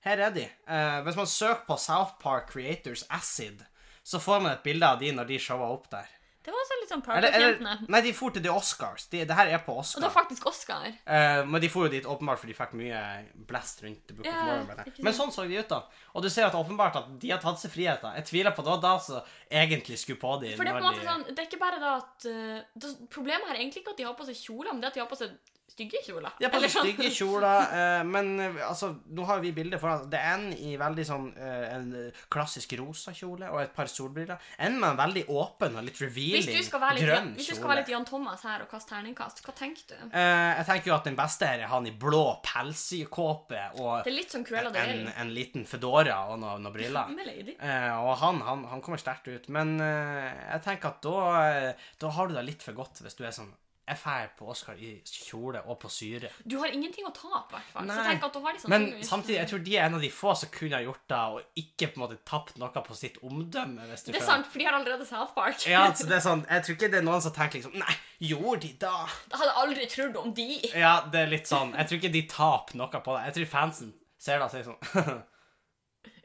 Speaker 1: her er de. Eh, hvis man søker på South Park Creators Acid, så får man et bilde av de når de showa opp der.
Speaker 2: Det var også litt sånn
Speaker 1: Eller, eller
Speaker 2: Parkers-jentene.
Speaker 1: Nei, de for til The Oscars. De, det her er på
Speaker 2: Og det
Speaker 1: Oscar.
Speaker 2: var faktisk Oscar.
Speaker 1: Eh, men de for jo dit åpenbart fordi de fikk mye blast rundt The Book
Speaker 2: Ja,
Speaker 1: of Mormon. mener jeg.
Speaker 2: ikke
Speaker 1: Men sånn så de ut, da. Og du ser at åpenbart at de har tatt seg friheter. Jeg tviler på det var da som egentlig skulle på de.
Speaker 2: For det er på
Speaker 1: når
Speaker 2: en måte
Speaker 1: de-
Speaker 2: sånn, det er ikke bare da at eh, det, Problemet her er egentlig ikke at de har på seg kjoler, men det er at de har på seg stygge kjoler.
Speaker 1: De har på
Speaker 2: Eller
Speaker 1: seg
Speaker 2: sånn-
Speaker 1: stygge kjoler, eh, men eh, altså, nå har vi bilder foran. Det er en i veldig sånn eh, en klassisk rosa kjole og et par solbriller. En med en veldig åpen og litt
Speaker 2: Hvis
Speaker 1: revealing
Speaker 2: du skal være litt,
Speaker 1: grønn
Speaker 2: hvis du skal
Speaker 1: kjole.
Speaker 2: være litt Jan Thomas her og kaste terningkast, hva tenker du?
Speaker 1: Eh, jeg tenker jo at den beste her er han i blå pelskåpe og
Speaker 2: Det er litt som Cruella de
Speaker 1: en,
Speaker 2: Vil.
Speaker 1: en liten fedora og noen noe briller. Eh, og han, han, han kommer sterkt ut, men eh, jeg tenker at da, eh, da har du deg litt for godt hvis du er sånn Jeg drar på Oscar i kjole og på syre.
Speaker 2: Du har ingenting å tape, i hvert fall. Så
Speaker 1: Nei.
Speaker 2: tenk at du har sånn de
Speaker 1: Men
Speaker 2: sannsynligvis-
Speaker 1: samtidig, jeg tror de er en av de få som kunne ha gjort det, og ikke på en måte tapt noe på sitt omdømme. hvis du
Speaker 2: Det er
Speaker 1: skjønner.
Speaker 2: sant, for de har allerede South Park.
Speaker 1: Ja, altså, det er sånn, Jeg tror ikke det er noen som tenker liksom Nei, gjorde de da?
Speaker 2: Jeg hadde aldri trodd om de.
Speaker 1: Ja, det er litt sånn, Jeg tror ikke de taper noe på det. Jeg tror fansen ser det og sier sånn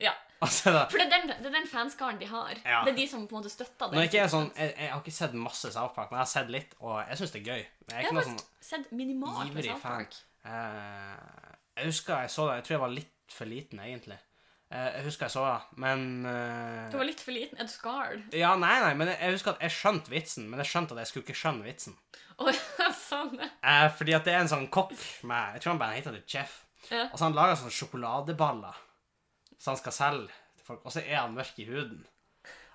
Speaker 2: Ja.
Speaker 1: og så er det,
Speaker 2: For det er den, det er den fanskaren de har.
Speaker 1: Ja.
Speaker 2: Det er de som på en måte støtter det.
Speaker 1: Når jeg, ikke er sånn, jeg, jeg har ikke sett masse South Park, men jeg har sett litt, og jeg syns det er gøy. Men jeg er
Speaker 2: Jeg
Speaker 1: ikke
Speaker 2: har
Speaker 1: noe sånn
Speaker 2: faktisk sett minimalt med
Speaker 1: ivrig
Speaker 2: South
Speaker 1: fan.
Speaker 2: Park.
Speaker 1: Eh, jeg husker jeg så det. Jeg tror jeg var litt for liten, egentlig. Eh, jeg husker jeg så det, men eh,
Speaker 2: Du var litt for liten. Er du scarred?
Speaker 1: Ja, nei, nei, men jeg, jeg husker at jeg skjønte vitsen, men jeg skjønte at jeg skulle ikke skjønne vitsen.
Speaker 2: Å, ja, sånn.
Speaker 1: Eh, fordi at det er en sånn kokk med Jeg tror han bare heter det Jeff.
Speaker 2: Ja.
Speaker 1: Og så han lager sånne sjokoladeballer som han skal selge til folk, og så er han mørk i huden.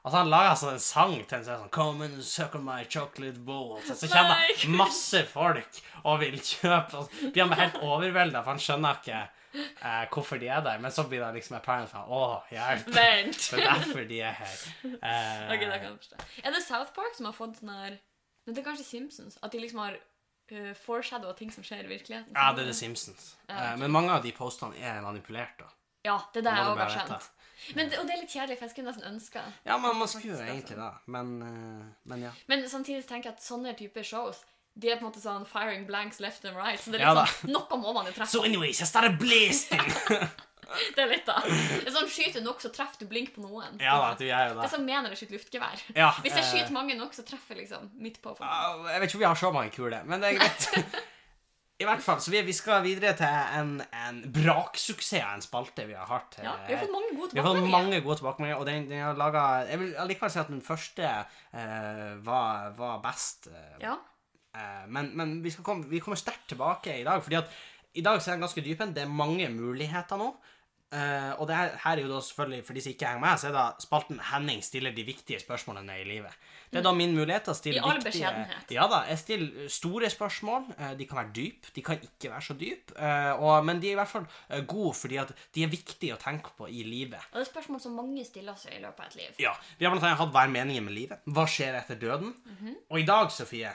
Speaker 1: Og så han lager sånn en sang til en som er sånn Come and suck on my chocolate balls. Og så kommer
Speaker 2: Nei.
Speaker 1: det masse folk og vil kjøpe. Og så blir han bare helt overvelda, for han skjønner ikke eh, hvorfor de er der. Men så blir det liksom apparent for han Å, hjelp.
Speaker 2: Vent.
Speaker 1: Det er derfor de er her. Eh,
Speaker 2: Ok, da kan jeg forstå. Er det South Park som har fått sånn her Men det er kanskje Simpsons? At de liksom har uh, foreshadowa ting som skjer i virkeligheten?
Speaker 1: Ja, det er The Simpsons. Eh,
Speaker 2: Ja.
Speaker 1: Men mange av de postene er manipulert, da.
Speaker 2: Ja, det er det
Speaker 1: Må
Speaker 2: jeg
Speaker 1: du
Speaker 2: òg har
Speaker 1: bare vite.
Speaker 2: skjønt. Men, det- og det er litt kjedelig, for jeg skulle nesten ønske
Speaker 1: Ja, men man skulle jo egentlig det. Men, eh, men ja.
Speaker 2: Men samtidig tenker jeg at sånne typer shows de er på en måte sånn firing blanks left and right. Så det er
Speaker 1: Ja
Speaker 2: litt
Speaker 1: da.
Speaker 2: sånn, Noe må man jo treffe.
Speaker 1: So anyways, I started blasting!
Speaker 2: Det er litt da. Det er sånn, Skyter du nok, så treffer du blink på noen.
Speaker 1: ja da, du gjør jo
Speaker 2: Det er
Speaker 1: det.
Speaker 2: som mener å skyte luftgevær.
Speaker 1: Ja,
Speaker 2: Hvis jeg
Speaker 1: eh,
Speaker 2: skyter mange nok, så treffer jeg liksom midt på. folk.
Speaker 1: ah, Jeg vet ikke om vi har så mange kuler, men det er greit. I hvert fall, så vi, vi skal videre til en, en braksuksess av en spalte vi har hatt. eh,
Speaker 2: Ja, Vi har fått mange gode
Speaker 1: Vi har fått
Speaker 2: tilbakemeldinger.
Speaker 1: mange gode tilbakemeldinger, og den, den har laget, Jeg vil allikevel si at den første eh, var, var best. eh,
Speaker 2: Ja.
Speaker 1: Eh, Men, men vi, skal komme, vi kommer sterkt tilbake i dag, fordi at i dag så er den ganske dyp en. Det er mange muligheter nå. Eh, og det her, her er jo da selvfølgelig, for de som ikke henger med, så er da spalten Henning stiller de viktige spørsmålene i livet. Det er da min mulighet til å stille
Speaker 2: I all
Speaker 1: viktige
Speaker 2: beskjedenhet.
Speaker 1: Ja da. Jeg stiller store spørsmål. Eh, de kan være dyp, de kan ikke være så dyp, eh, og, men de er i hvert fall eh, gode fordi at de er viktige å tenke på i livet.
Speaker 2: Og det er spørsmål som mange stiller seg i løpet av et liv.
Speaker 1: Ja, Vi har blant annet hatt Hva er meningen med livet? Hva skjer etter døden?
Speaker 2: Mhm.
Speaker 1: Og i dag, Sofie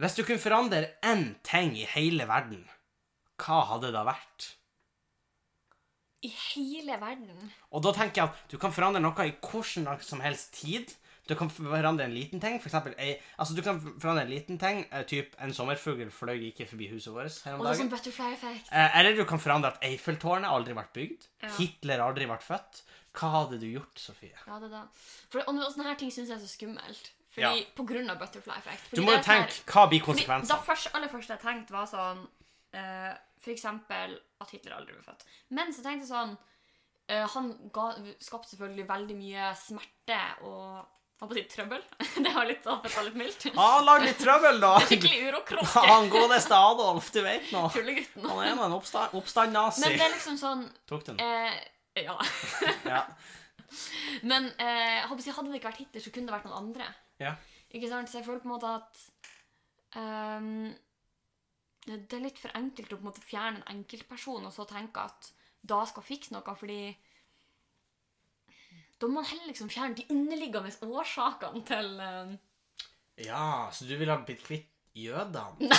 Speaker 1: Hvis du kunne forandre én ting i hele verden, hva hadde det vært?
Speaker 2: I hele verden.
Speaker 1: Og da tenker jeg at du kan forandre noe i hvordan som helst tid. Du kan forandre en liten ting, for eksempel ei, altså du kan forandre en liten ting, eh, typ en sommerfugl fløy ikke forbi huset vårt her om
Speaker 2: Og det er
Speaker 1: dagen.
Speaker 2: sånn butterfly effect.
Speaker 1: Eh, Eller du kan forandre at Eiffeltårnet aldri ble bygd.
Speaker 2: Ja.
Speaker 1: Hitler aldri ble født. Hva hadde du gjort, Sofie?
Speaker 2: Ja, det da. For, og, og sånne her ting syns jeg er så skummelt. Fordi, På grunn av butterfly effect. Fordi
Speaker 1: Du må jo
Speaker 2: det er sånn her-
Speaker 1: tenke hva blir
Speaker 2: fordi Da
Speaker 1: konsekvensene.
Speaker 2: først, aller første jeg tenkte, var sånn eh, For eksempel at Hitler aldri ble født. Men så tenkte jeg sånn eh, Han ga, skapte selvfølgelig veldig mye smerte og holdt på å si trøbbel. Det var litt, det var litt mildt.
Speaker 1: Han lagde litt trøbbel, da!
Speaker 2: Skikkelig urokråke.
Speaker 1: Han godeste Adolf, du vet nå.
Speaker 2: Tullegutten.
Speaker 1: Han er nå en oppsta- oppstand-nazi.
Speaker 2: Men det er liksom sånn
Speaker 1: Tok den.
Speaker 2: eh, Ja.
Speaker 1: Ja.
Speaker 2: Men eh, jeg håper å si, hadde det ikke vært Hitler, så kunne det vært noen andre.
Speaker 1: Ja.
Speaker 2: Ikke sant? Så jeg føler på en måte at ehm, det det er litt for enkelt å på en måte fjerne en enkeltperson og så tenke at da skal fikse noe, fordi da må man heller liksom fjerne de underliggende årsakene til eh,
Speaker 1: ja, så du ville ha blitt kvitt jødene?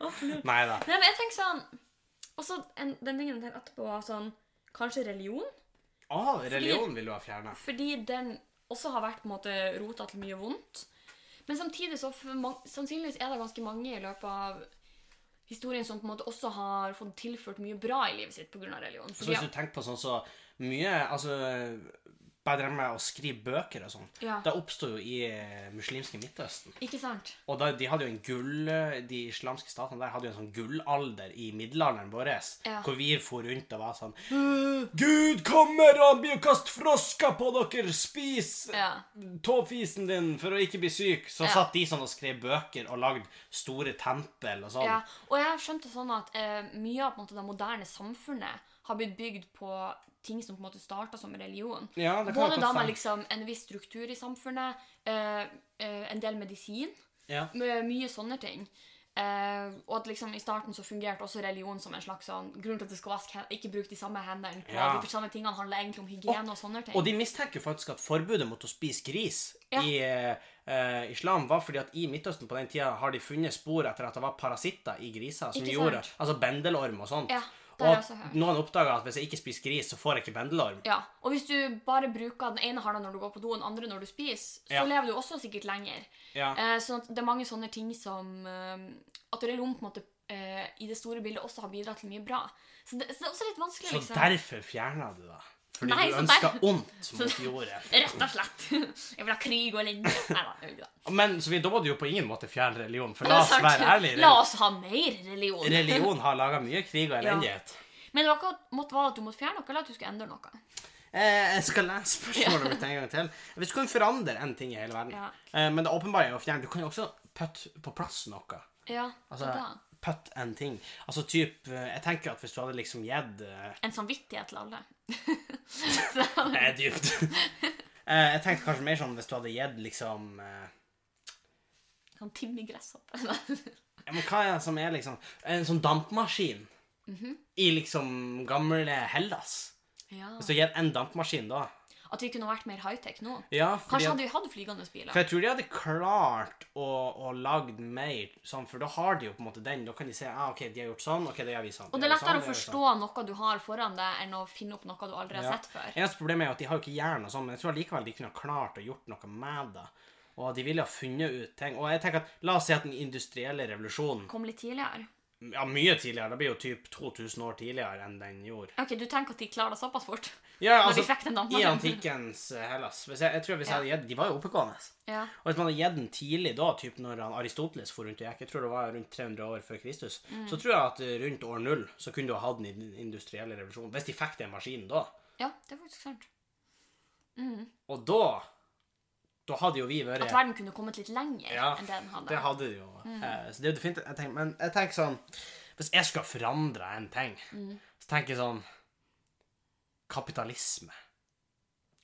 Speaker 2: Nei,
Speaker 1: Nei da.
Speaker 2: men jeg tenker sånn Også en, den tingen jeg tenkte etterpå, var sånn Kanskje religion?
Speaker 1: Å, religion vil du ha fjerna.
Speaker 2: Fordi den også har vært på en måte rota til mye vondt. Men samtidig så for man- sannsynligvis er det ganske mange i løpet av historien som på en måte også har fått tilført mye bra i livet sitt pga. religion.
Speaker 1: Så
Speaker 2: Fordi,
Speaker 1: hvis du tenker på sånn så mye Altså, bare det med å skrive bøker og sånn,
Speaker 2: ja,
Speaker 1: det oppsto jo i eh, muslimske Midtøsten.
Speaker 2: ikke sant?
Speaker 1: Og da, de hadde jo en gull eh, De islamske statene der hadde jo en sånn gullalder i middelalderen vår,
Speaker 2: Ja.
Speaker 1: hvor vi for rundt og var sånn Gud kommer og han blir å kaste frosker på dere! Spis
Speaker 2: Ja.
Speaker 1: tåfisen din for å ikke bli syk! Så
Speaker 2: Ja.
Speaker 1: satt de sånn og skrev bøker og lagde store tempel og sånn.
Speaker 2: ja. Og jeg har skjønt det sånn at eh, mye av på en måte, det moderne samfunnet har blitt bygd på ting som på en måte starta som religion.
Speaker 1: Ja, det kan
Speaker 2: Både
Speaker 1: jeg
Speaker 2: da
Speaker 1: godt
Speaker 2: med
Speaker 1: stemme.
Speaker 2: liksom en viss struktur i samfunnet, eh, eh, en del medisin
Speaker 1: Ja.
Speaker 2: Med mye sånne ting. Eh, og at liksom I starten så fungerte også religion som en slags sånn grunn til at det skal vaske hen- ikke bruke de samme hendene. på
Speaker 1: Ja.
Speaker 2: De samme tingene handler egentlig om hygiene og sånne ting.
Speaker 1: Og de mistenker jo faktisk at forbudet mot å spise gris
Speaker 2: Ja.
Speaker 1: i eh, islam var fordi at i Midtøsten på den tida har de funnet spor etter at det var parasitter i griser som
Speaker 2: Ikke
Speaker 1: gjorde
Speaker 2: sant?
Speaker 1: Altså bendelorm og sånt.
Speaker 2: Ja,
Speaker 1: og
Speaker 2: det har jeg
Speaker 1: at
Speaker 2: også hørt.
Speaker 1: noen oppdaga at hvis jeg ikke spiser gris, så får jeg ikke bendelorm.
Speaker 2: Ja, og hvis du bare bruker den ene handa når du går på do, og den andre når du spiser,
Speaker 1: Ja.
Speaker 2: så lever du også sikkert lenger.
Speaker 1: Ja.
Speaker 2: Eh, sånn at det er mange sånne ting som eh, At religion på en måte eh, i det store bildet også har bidratt til mye bra. Så det, så det er også litt vanskelig,
Speaker 1: Så
Speaker 2: liksom.
Speaker 1: derfor fjerna du det. Fordi
Speaker 2: Nei,
Speaker 1: du
Speaker 2: så
Speaker 1: ønska
Speaker 2: der-
Speaker 1: ondt mot jordet.
Speaker 2: Rett og slett. Jeg vil ha krig og lenge. Nei da, jeg vil ikke det.
Speaker 1: Men så vi, da må du jo på ingen måte fjerne religion, for
Speaker 2: Det
Speaker 1: la
Speaker 2: er
Speaker 1: oss
Speaker 2: sant.
Speaker 1: være ærlige.
Speaker 2: La oss ha mer religion.
Speaker 1: Religion har laga mye krig og
Speaker 2: Ja.
Speaker 1: elendighet.
Speaker 2: Men det var ikke at- måtte være at du måtte fjerne noe, eller at du skulle endre noe.
Speaker 1: Eh, jeg skal lese spørsmålet mitt en gang til. Hvis du kan forandre en ting i hele verden
Speaker 2: Ja.
Speaker 1: eh, Men det åpenbare er å fjerne Du kan jo også putte på plass noe.
Speaker 2: Ja,
Speaker 1: Altså,
Speaker 2: så da.
Speaker 1: putte en ting. Altså typ eh, Jeg tenker at hvis du hadde liksom gitt eh,
Speaker 2: En samvittighet til alle. Så-
Speaker 1: Det er dypt. eh, jeg tenkte kanskje mer sånn hvis du hadde gitt liksom eh,
Speaker 2: Sånn Timmy Gresshoppe.
Speaker 1: ja, men Hva er det som er liksom En sånn dampmaskin
Speaker 2: Mhm.
Speaker 1: i liksom gamle Hellas.
Speaker 2: ja.
Speaker 1: Hvis du gir en dampmaskin da
Speaker 2: At vi kunne vært mer high-tech nå.
Speaker 1: Ja, fordi
Speaker 2: Kanskje
Speaker 1: at-
Speaker 2: hadde vi hatt flygende biler.
Speaker 1: For jeg tror de hadde klart å, å lagd mer sånn, for da har de jo på en måte den. Da kan de se ah, ok, de har gjort sånn, ok, det gjør vi sånn.
Speaker 2: Og
Speaker 1: de
Speaker 2: det er
Speaker 1: gjør sånn,
Speaker 2: lettere å
Speaker 1: de gjør sånn».
Speaker 2: forstå noe du har foran deg, enn å finne opp noe du aldri har
Speaker 1: Ja.
Speaker 2: sett før.
Speaker 1: Eneste problemet er jo at de har jo ikke hjerne og sånn, men jeg tror likevel de kunne ha klart å gjort noe med det. Og de ville ha funnet ut ting. Og jeg tenker at la oss si at den industrielle revolusjonen
Speaker 2: Kom litt tidligere.
Speaker 1: Ja, mye tidligere. Det blir jo typ 2000 år tidligere enn den gjorde.
Speaker 2: Ok, Du tenker at de klarer det såpass fort?
Speaker 1: Ja,
Speaker 2: Når de
Speaker 1: altså,
Speaker 2: fikk den
Speaker 1: i
Speaker 2: dampmaskinen?
Speaker 1: antikkens eh, Hellas. Hvis jeg, jeg tror hvis jeg hadde gitt De var jo oppegående.
Speaker 2: Ja.
Speaker 1: Og hvis man hadde gitt den tidlig da, typ når han Aristoteles for rundt og gikk, jeg tror det var rundt 300 år før Kristus,
Speaker 2: Mm.
Speaker 1: så tror jeg at eh, rundt år null så kunne du ha hatt den industrielle revolusjonen, hvis de fikk den maskinen da.
Speaker 2: ja, det er faktisk sant.
Speaker 1: Og da, da hadde jo vi vært...
Speaker 2: At verden Mm. kunne kommet litt lenger
Speaker 1: Ja,
Speaker 2: enn det den hadde.
Speaker 1: Det hadde de jo. Eh, Så det er jo definitivt, jeg tenker, men jeg tenker sånn, hvis jeg skal forandre en ting,
Speaker 2: Mm.
Speaker 1: så tenker jeg sånn, kapitalisme.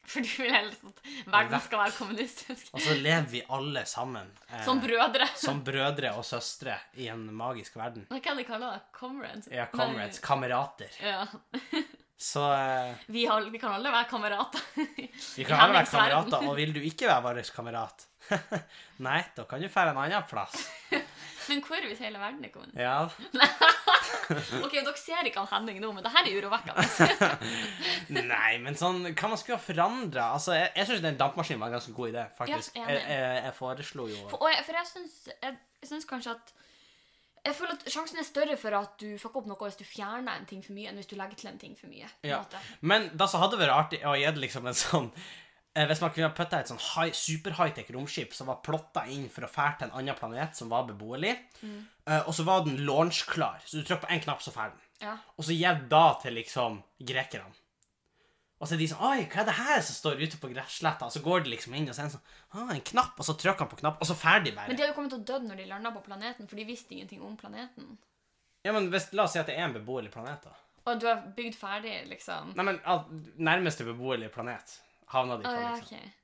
Speaker 2: For du vil helst at verden skal være kommunistisk.
Speaker 1: Og så lever vi alle sammen. eh,
Speaker 2: Som brødre.
Speaker 1: som brødre og søstre i en magisk verden.
Speaker 2: Hva kan de kalle det? Comrades?
Speaker 1: Ja, comrades, kamerater.
Speaker 2: Nei, Ja.
Speaker 1: Så... eh,
Speaker 2: Vi, har, vi kan alle være kamerater.
Speaker 1: Vi
Speaker 2: I
Speaker 1: kan alle være
Speaker 2: Hemmings verden.
Speaker 1: kamerater, og vil du ikke være vår kamerat? Nei, da kan du fære en annen plass.
Speaker 2: Men hvor hvis hele verden er kommunist?
Speaker 1: Ja.
Speaker 2: Ok, dere ser ikke han Henning nå, men det her er urovekkende.
Speaker 1: Nei, men sånn, hva man skulle ha forandra? Altså, jeg, jeg syns den dampmaskinen var en ganske god idé, faktisk.
Speaker 2: Ja,
Speaker 1: jeg,
Speaker 2: enig.
Speaker 1: jeg, jeg foreslo jo
Speaker 2: For, og jeg- for jeg syns- jeg jeg syns kanskje at jeg føler at Sjansen er større for at du fucker opp noe hvis du fjerner en ting for mye, enn hvis du legger til en ting for mye. på en
Speaker 1: ja.
Speaker 2: måte.
Speaker 1: Men da så hadde det vært artig å gi det liksom en sånn eh, Hvis man kunne ha putta et sånn high, super high-tech romskip som var plotta inn for å fære til en annen planet som var beboelig,
Speaker 2: Mm.
Speaker 1: eh, og så var den launchklar, så du trykker på én knapp, så fær den.
Speaker 2: Ja.
Speaker 1: Og så gjev da til liksom grekerne. Og så er de sånn Oi, hva er det her som står ute på gressletta? Og så går de liksom inn og ser en sånn ah, En knapp, og så trykker han på knapp, og så ferdig bare.
Speaker 2: Men de hadde jo kommet til å dø når de landa på planeten, for de visste ingenting om planeten.
Speaker 1: Ja, men hvis, La oss si at det er en beboelig planet, da.
Speaker 2: Og du har bygd ferdig, liksom.
Speaker 1: Nei, men at nærmeste beboelige planet havna de på,
Speaker 2: Å, ja,
Speaker 1: liksom.
Speaker 2: ok.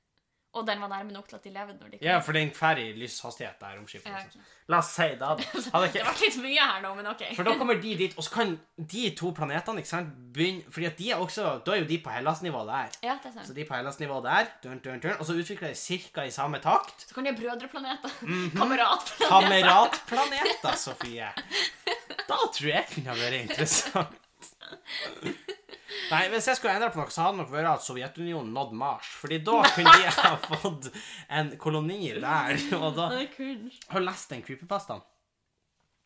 Speaker 2: Og den var nærme nok til at de levde når de kom.
Speaker 1: Ja, for den fer i lyshastighet, det her romskipet.
Speaker 2: Ja,
Speaker 1: Liksom. La oss si det. da. Hadde
Speaker 2: Det
Speaker 1: ikke
Speaker 2: ble litt mye her nå, men ok.
Speaker 1: For da kommer de dit, og så kan de to planetene ikke sant, begynne Fordi at de er også, da er jo de på Hellas-nivå der.
Speaker 2: Ja, det er
Speaker 1: Så
Speaker 2: sant.
Speaker 1: de på Hellas-nivå der, dun, dun, dun, og så utvikler de ca. i samme takt.
Speaker 2: Så kan de ha brødreplaneter.
Speaker 1: Mhm.
Speaker 2: Kameratplaneter.
Speaker 1: Kameratplaneter, Sofie! Da tror jeg kunne ha vært interessant. Nei, Hvis jeg skulle endre på noe, så hadde det nok vært at Sovjetunionen nådde Mars. Fordi da kunne de ha fått en koloni der. Og da
Speaker 2: Det er cringe.
Speaker 1: Har du lest den creepypastaen?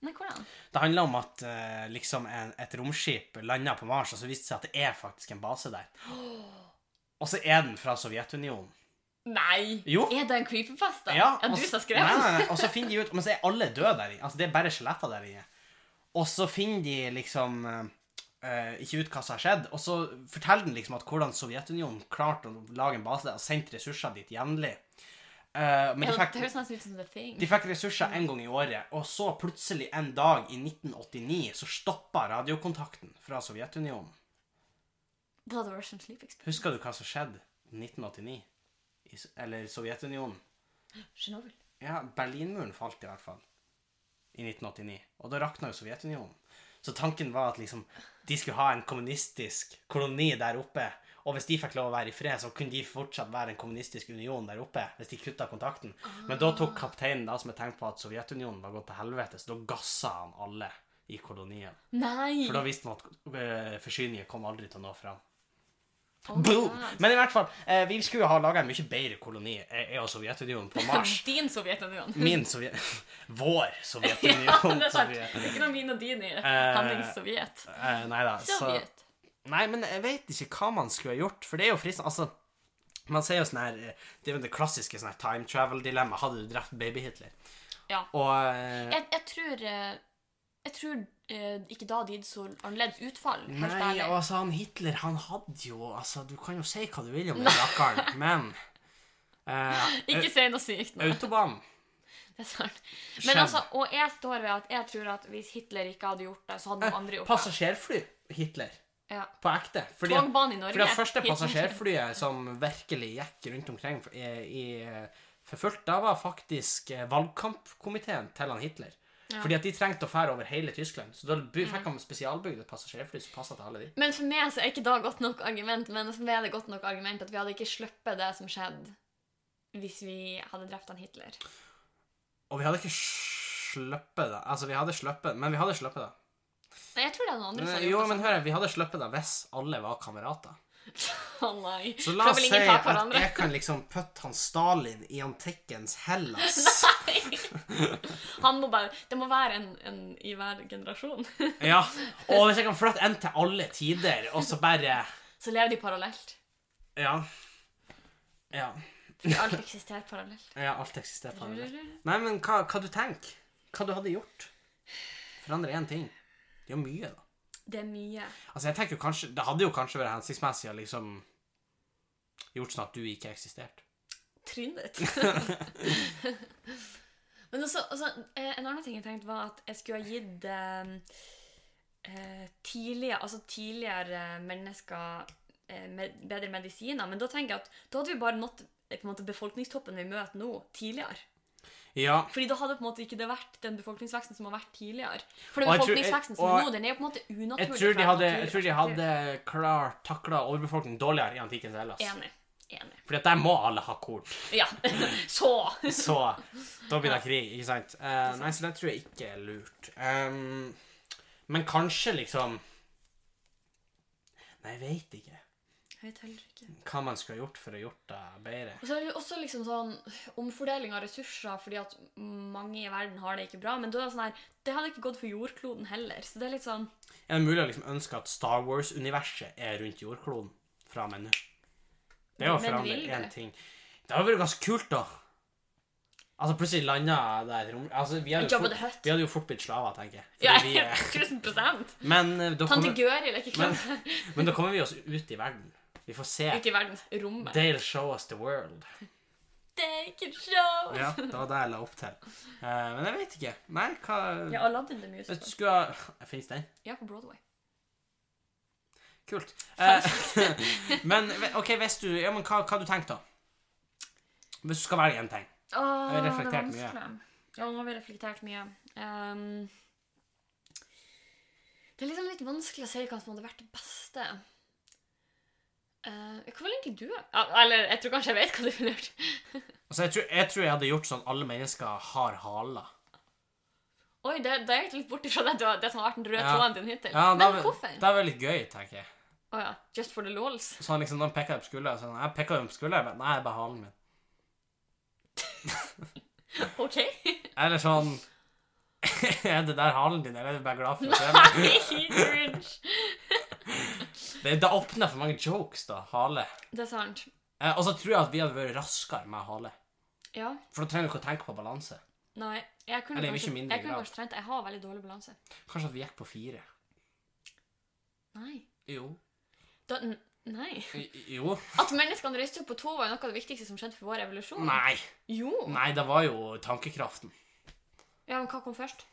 Speaker 2: Nei, hvordan?
Speaker 1: Det handler om at eh, liksom en, et romskip landa på Mars, og så viste det seg at det er faktisk en base der. Og så er den fra Sovjetunionen.
Speaker 2: Nei!
Speaker 1: Jo.
Speaker 2: Er det en creepypasta? er
Speaker 1: og
Speaker 2: du
Speaker 1: så-
Speaker 2: som har skrevet
Speaker 1: Nei,
Speaker 2: den?
Speaker 1: nei, nei, og så finner de ut Men så er alle døde der inne. Altså, det er bare skjeletter der inne. Og så finner de liksom eh, eh, ikke ut hva som har skjedd. Og så forteller den liksom at hvordan Sovjetunionen klarte å lage en base der og sendte ressurser dit jevnlig. Eh, men
Speaker 2: Ja,
Speaker 1: de fikk,
Speaker 2: det høres nesten ut som The Thing.
Speaker 1: de fikk ressurser en gang i året, og så plutselig en dag i 1989 så stoppa radiokontakten fra Sovjetunionen.
Speaker 2: Det hadde vært som Sleep Experience.
Speaker 1: Husker du hva som skjedde i 1989? I, S- eller Sovjetunionen?
Speaker 2: Chernobyl.
Speaker 1: Ja, Berlinmuren falt i hvert fall i 1989, og da rakna jo Sovjetunionen. Så tanken var at liksom, de skulle ha en kommunistisk koloni der oppe, og hvis de fikk lov å være i fred, så kunne de fortsatt være en kommunistisk union der oppe, hvis de kutta kontakten. Men da tok kapteinen da som et tegn på at Sovjetunionen var gått til helvete, så da gassa han alle i kolonien.
Speaker 2: Nei!
Speaker 1: For da visste man at eh, forsyningen kom aldri til å nå fram.
Speaker 2: Oh my
Speaker 1: Boom!
Speaker 2: God.
Speaker 1: Men i hvert fall, eh, vi skulle jo ha laga en mye bedre koloni, eh, jeg og Sovjetunionen, på Mars.
Speaker 2: Din Sovjetunion.
Speaker 1: Min Sovjet... Vår Sovjetunion.
Speaker 2: ja, det er sant.
Speaker 1: Sovjet.
Speaker 2: Ikke noe min og din i handlingssovjet.
Speaker 1: Eh, nei da. Så,
Speaker 2: Sovjet.
Speaker 1: nei, men jeg vet ikke hva man skulle ha gjort, for det er jo fristende. Altså, man sier jo sånn her eh, Det er jo det klassiske sånn her time travel-dilemma. Hadde du drept baby-Hitler?
Speaker 2: Ja.
Speaker 1: Og eh,
Speaker 2: Jeg, jeg tror eh, Jeg tror eh, ikke da det gikk så annerledes utfall, helt
Speaker 1: Nei,
Speaker 2: ærlig.
Speaker 1: altså, han Hitler, han hadde jo Altså, du kan jo si hva du vil om den rakkeren, men eh,
Speaker 2: Ikke si noe sykt nå.
Speaker 1: Autobahn.
Speaker 2: Det er sant.
Speaker 1: Skjønn.
Speaker 2: Men altså, og jeg står ved at jeg tror at hvis Hitler ikke hadde gjort det, så hadde noen andre gjort det.
Speaker 1: Passasjerfly Hitler.
Speaker 2: Ja.
Speaker 1: På ekte. Eh, Fordi, at-
Speaker 2: Togbanen i Norge.
Speaker 1: fordi det første
Speaker 2: Hitler.
Speaker 1: passasjerflyet som virkelig gikk rundt omkring for- i, i, for fullt, da var faktisk eh, valgkampkomiteen til han Hitler.
Speaker 2: Ja.
Speaker 1: Fordi at de trengte å fære over hele Tyskland. Så da by- fikk han spesialbygd et passasjerfly som passa til alle de.
Speaker 2: Men for meg så er ikke da godt nok argument, men for meg er det godt nok argument at vi hadde ikke sluppet det som skjedde hvis vi hadde drept han Hitler.
Speaker 1: Og vi hadde ikke sluppet det. Altså, vi hadde sluppet, men vi hadde sluppet det.
Speaker 2: Nei, jeg tror det er noen andre som
Speaker 1: Men,
Speaker 2: hadde
Speaker 1: jo,
Speaker 2: gjort
Speaker 1: men hør, her, vi hadde sluppet det hvis alle var kamerater.
Speaker 2: det sånn. Å nei.
Speaker 1: Så
Speaker 2: For
Speaker 1: la
Speaker 2: da
Speaker 1: oss
Speaker 2: vil
Speaker 1: si
Speaker 2: ingen ta
Speaker 1: at
Speaker 2: hverandre.
Speaker 1: jeg kan liksom putte han Stalin i antikkens Hellas.
Speaker 2: Han må bare, det må være en, en i hver generasjon.
Speaker 1: Ja, og hvis jeg kan flytte en til alle tider, og så bare
Speaker 2: Så lever de parallelt.
Speaker 1: Ja. Ja.
Speaker 2: For alt eksisterer parallelt.
Speaker 1: ja alt eksisterer på den. Nei, men hva, hva du tenker? Hva du hadde gjort? Forandre én ting. Det er jo mye, da.
Speaker 2: Det er mye.
Speaker 1: Altså, jeg tenker jo kanskje Det hadde jo kanskje vært hensiktsmessig å liksom gjort sånn at du ikke eksisterte.
Speaker 2: trynet. Men også, også, eh, en annen ting jeg tenkte var at jeg skulle ha gitt eh, eh, tidligere, altså tidligere mennesker eh, med, bedre medisiner, men da tenker jeg at da hadde vi bare nådd eh, på en måte, befolkningstoppen vi møter nå, tidligere.
Speaker 1: Ja.
Speaker 2: Fordi da hadde på en måte ikke det vært den befolkningsveksten som har vært tidligere. For den
Speaker 1: Og jeg tror-
Speaker 2: befolkningsveksten som
Speaker 1: og-
Speaker 2: er nå, den er jo på en måte unaturlig.
Speaker 1: Jeg tror
Speaker 2: fra
Speaker 1: de
Speaker 2: et
Speaker 1: hadde, jeg
Speaker 2: naturlig
Speaker 1: tror de
Speaker 2: perspektiv.
Speaker 1: hadde klart takla overbefolkningen dårligere i antikkens Hellas.
Speaker 2: Enig. Enig.
Speaker 1: Fordi at der må alle ha korn.
Speaker 2: Ja. Så!
Speaker 1: Så da blir det krig, ikke sant? Eh, nei, så det tror jeg ikke er lurt. Ehm, men kanskje liksom Nei, jeg veit ikke
Speaker 2: Jeg vet heller ikke.
Speaker 1: hva man skulle ha gjort for å gjort det bedre.
Speaker 2: Og så er det jo også liksom sånn omfordeling av ressurser, fordi at mange i verden har det ikke bra. Men da er det sånn her, det hadde ikke gått for jordkloden heller. Så det er litt sånn
Speaker 1: Er det mulig å liksom ønske at Star Wars-universet er rundt jordkloden fra og med nå? Det er jo å
Speaker 2: Men
Speaker 1: forandre
Speaker 2: vil det?
Speaker 1: én ting. Det hadde vært ganske kult, da. Altså, plutselig landa der rom- altså, vi, hadde jo
Speaker 2: Jabba the
Speaker 1: fort,
Speaker 2: Hutt.
Speaker 1: vi hadde jo fort blitt slaver, tenker jeg.
Speaker 2: Ja,
Speaker 1: Fordi vi er-
Speaker 2: 1000
Speaker 1: men, eh, da
Speaker 2: Tante
Speaker 1: kommer,
Speaker 2: Gøril er ikke
Speaker 1: Men-
Speaker 2: klar.
Speaker 1: men da kommer vi oss ut i verden. Vi får se.
Speaker 2: Ute i verdensrommet.
Speaker 1: They'll show us the world.
Speaker 2: They can show!
Speaker 1: Ja, det var det jeg la opp til. Eh, men jeg vet ikke. Nei, hva
Speaker 2: Ja, Aladdin the
Speaker 1: Hvis du
Speaker 2: Musical.
Speaker 1: skulle ha Fins den?
Speaker 2: Ja, på Broadway.
Speaker 1: Kult. Eh, men OK, hvis du Ja, men hva, hva du tenker da? Hvis du skal velge en ting.
Speaker 2: Åh,
Speaker 1: Jeg har reflektert
Speaker 2: det er vanskelig. Ja, nå har vi reflektert mye. Ehm, det er liksom litt vanskelig å si hva som hadde vært det beste. Eh, hva ville egentlig du ha? Ja, eller, jeg tror kanskje jeg vet hva du ville gjort.
Speaker 1: Altså, jeg, tror, jeg tror jeg hadde gjort sånn alle mennesker har haler.
Speaker 2: Oi, det, det er egentlig litt bort ifra det, du har- det som har vært den røde
Speaker 1: Ja.
Speaker 2: tråden din hittil.
Speaker 1: Ja,
Speaker 2: Men
Speaker 1: det er-
Speaker 2: hvorfor?
Speaker 1: Det er veldig gøy, tenker jeg.
Speaker 2: Å ja, just for the lols.
Speaker 1: Så han liksom, da peker jeg på skulderen. og Sånn, jeg peker jo på skulderen, men nei, det er bare halen min.
Speaker 2: Ok.
Speaker 1: Eller sånn Er det der halen din, eller er du bare glad for å se meg?
Speaker 2: Nei, cringe.
Speaker 1: Det, det åpner for mange jokes, da. Hale.
Speaker 2: Det er sant.
Speaker 1: Eh, og så tror jeg at vi hadde vært raskere med hale.
Speaker 2: Ja,
Speaker 1: For da trenger du ikke å tenke på balanse.
Speaker 2: nei. Jeg kunne
Speaker 1: Eller i
Speaker 2: kanskje,
Speaker 1: mye mindre
Speaker 2: jeg kunne
Speaker 1: grad.
Speaker 2: kanskje trent. Jeg har veldig dårlig balanse.
Speaker 1: Kanskje at vi gikk på fire.
Speaker 2: Nei.
Speaker 1: Jo.
Speaker 2: Da, n- nei.
Speaker 1: I- Jo.
Speaker 2: At menneskene reiste opp på tå, var jo noe av det viktigste som skjedde for vår evolusjon.
Speaker 1: Nei.
Speaker 2: Jo.
Speaker 1: Nei, det var jo tankekraften.
Speaker 2: Ja, men hva kom først?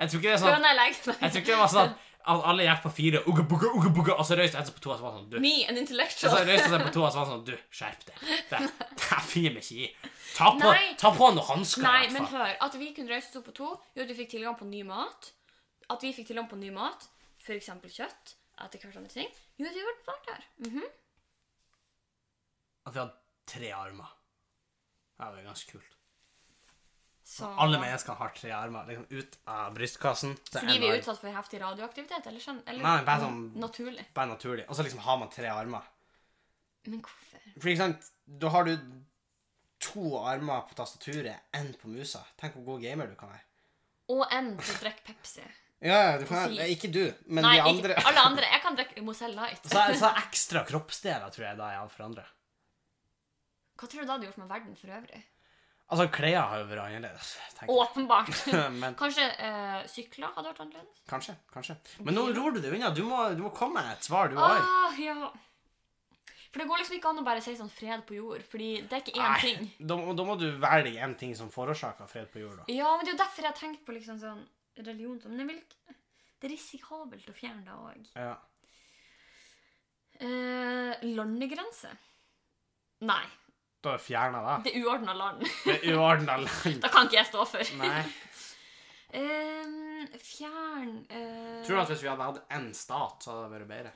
Speaker 1: Jeg tror ikke det er sånn
Speaker 2: Høna eller egget?
Speaker 1: Jeg tror ikke det var sånn at alle gikk på fire, uga, buga, uga, buga, og så røyste jeg seg på to, og så var det sånn du.
Speaker 2: Me, an
Speaker 1: Og så
Speaker 2: intellectual.
Speaker 1: røyste jeg seg på to, og så var det sånn du, skjerp deg. Det, det her finner vi ikke i. Ta på,
Speaker 2: Nei.
Speaker 1: ta på noen hansker,
Speaker 2: Nei,
Speaker 1: i
Speaker 2: men
Speaker 1: hvert fall.
Speaker 2: hør. At vi kunne reise oss opp på to, gjorde at vi fikk tilgang på ny mat. At vi fikk tilgang på ny mat, f.eks. kjøtt, etter hvert andre ting, gjorde at vi ble klart her. Mhm.
Speaker 1: At vi hadde tre armer. Det var jo ganske kult.
Speaker 2: Så,
Speaker 1: Alle mennesker har tre armer. Liksom ut av brystkassen. så er
Speaker 2: Fordi
Speaker 1: en
Speaker 2: vi er
Speaker 1: arm.
Speaker 2: utsatt for heftig radioaktivitet? Eller, skjønn- eller
Speaker 1: Nei, bare sånn-
Speaker 2: naturlig.
Speaker 1: Bare naturlig. Og så liksom har man tre armer.
Speaker 2: Men hvorfor?
Speaker 1: For ikke sant, da har du to armer på tastaturet, én på musa. Tenk hvor god gamer du kan være.
Speaker 2: Og en til å drikke Pepsi.
Speaker 1: Ja, ja, du kan,
Speaker 2: Si-
Speaker 1: nei, ikke du, men
Speaker 2: Nei,
Speaker 1: de andre.
Speaker 2: ikke alle andre. Jeg kan drikke Mozell Light.
Speaker 1: Så, så ekstra kroppsdeler tror jeg da er for andre.
Speaker 2: Hva tror du det hadde gjort med verden for øvrig?
Speaker 1: Altså, klær har jo vært annerledes, tenker jeg.
Speaker 2: Åpenbart.
Speaker 1: Men
Speaker 2: Kanskje eh, sykler hadde vært annerledes?
Speaker 1: kanskje, kanskje. Men nå ror du det unna. Du må, du må komme med et svar, du òg.
Speaker 2: Ah, ja. For det går liksom ikke an å bare si sånn fred på jord, fordi det er ikke én ting.
Speaker 1: da, må- da må du velge en ting som forårsaker fred på jorda.
Speaker 2: Ja, men det er jo derfor jeg har tenkt på liksom sånn religion som Men jeg vil ikke Det er risikabelt å fjerne det òg.
Speaker 1: Ja.
Speaker 2: Eh, landegrense? Nei.
Speaker 1: Da fjerner jeg det.
Speaker 2: Det er uordna land.
Speaker 1: Det er uordna land.
Speaker 2: Det kan ikke jeg stå for.
Speaker 1: Nei.
Speaker 2: Eh, fjern eh,
Speaker 1: Tror du at hvis vi hadde hatt én stat, så hadde det vært bedre?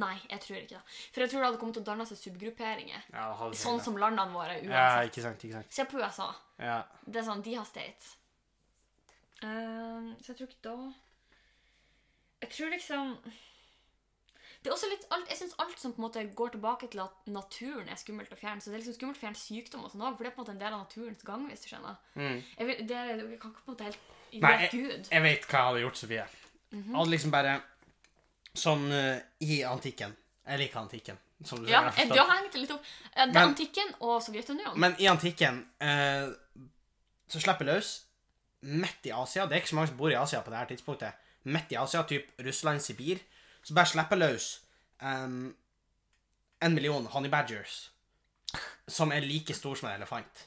Speaker 2: Nei, jeg tror ikke det. For jeg tror det hadde kommet til å danne seg subgrupperinger.
Speaker 1: Ja, det hadde
Speaker 2: Sånn som landene våre
Speaker 1: Ja,
Speaker 2: uansett.
Speaker 1: ikke sant, ikke sant.
Speaker 2: Se på USA.
Speaker 1: Ja.
Speaker 2: Det er sånn, de har states. Ehm, så jeg tror ikke da Jeg tror liksom Det er også litt alt, Jeg syns alt som på en måte går tilbake til at naturen er skummelt å fjerne. Så det er liksom skummelt å fjerne sykdom og sånn også, for det er på en måte en del av naturens gang. hvis du skjønner.
Speaker 1: Mm.
Speaker 2: Jeg, vil, det er, jeg kan ikke på en måte helt gjøre
Speaker 1: Nei, jeg-
Speaker 2: Gud.
Speaker 1: Jeg vet hva jeg hadde gjort, Sofie. Hadde liksom bare Sånn eh, i antikken. Jeg liker antikken. Som du
Speaker 2: Ja,
Speaker 1: sikkert har
Speaker 2: jeg,
Speaker 1: forstått.
Speaker 2: det har hengt litt opp. Eh, Det er
Speaker 1: Men-
Speaker 2: antikken og Sovjetunionen.
Speaker 1: Men i antikken eh, så slipper jeg løs midt i Asia. Det er ikke så mange som bor i Asia på det her tidspunktet. Midt i Asia, typ Russland, Sibir. Så bare slipper jeg løs em, en million honey badgers som er like stor som en elefant.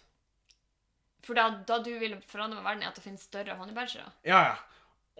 Speaker 2: For da, da du vil forandre verden, er at det finnes større honningbæsjere.
Speaker 1: Ja, ja.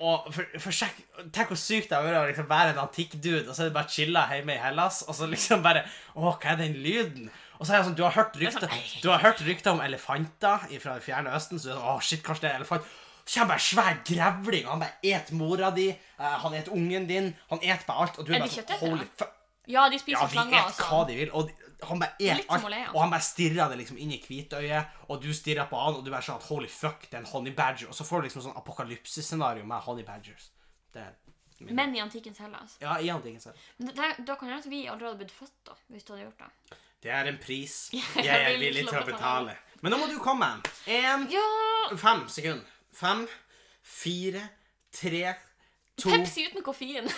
Speaker 1: Og for, for sjekk, Tenk hvor sykt det har vært å liksom være en antikk-dude, og så er det bare chilla hjemme i Hellas, og så liksom bare Å, hva er den lyden? Og så er det sånn, du har hørt
Speaker 2: er
Speaker 1: rykter
Speaker 2: sånn-
Speaker 1: Du har hørt rykter om elefanter fra det fjerne østen, så du er sånn Å, shit, kanskje det er elefant. Så kommer bare svær grevling, og han bare et mora di, eh, han et ungen din, han et bare alt, og du
Speaker 2: Er
Speaker 1: er
Speaker 2: de
Speaker 1: bare sånn
Speaker 2: kjøttetere?
Speaker 1: Holy fuck.
Speaker 2: Ja, de spiser
Speaker 1: Ja, de
Speaker 2: slanger og
Speaker 1: et hva
Speaker 2: sånn.
Speaker 1: de vil, og de- han bare et
Speaker 2: Litt som
Speaker 1: alt,
Speaker 2: altså. å le, ja.
Speaker 1: og han bare stirrer det liksom inn i hvitøyet, og du stirrer på han, og du bare sånn at holy fuck, det er en honey badger, og så får du liksom sånn apokalypsescenario med honey badgers. Det er min-
Speaker 2: Men i antikkens Hellas.
Speaker 1: Ja, i andre ting, så.
Speaker 2: Men Da, da kan det hende at vi allerede hadde blitt født, da, hvis du hadde gjort det.
Speaker 1: Det er en pris jeg
Speaker 2: jeg
Speaker 1: er
Speaker 2: vil
Speaker 1: villig
Speaker 2: slå
Speaker 1: til å
Speaker 2: på
Speaker 1: betale. Men nå må du komme. En,
Speaker 2: Ja!
Speaker 1: fem sekunder. Fem, fire, tre, to.
Speaker 2: Pepsi uten koffein.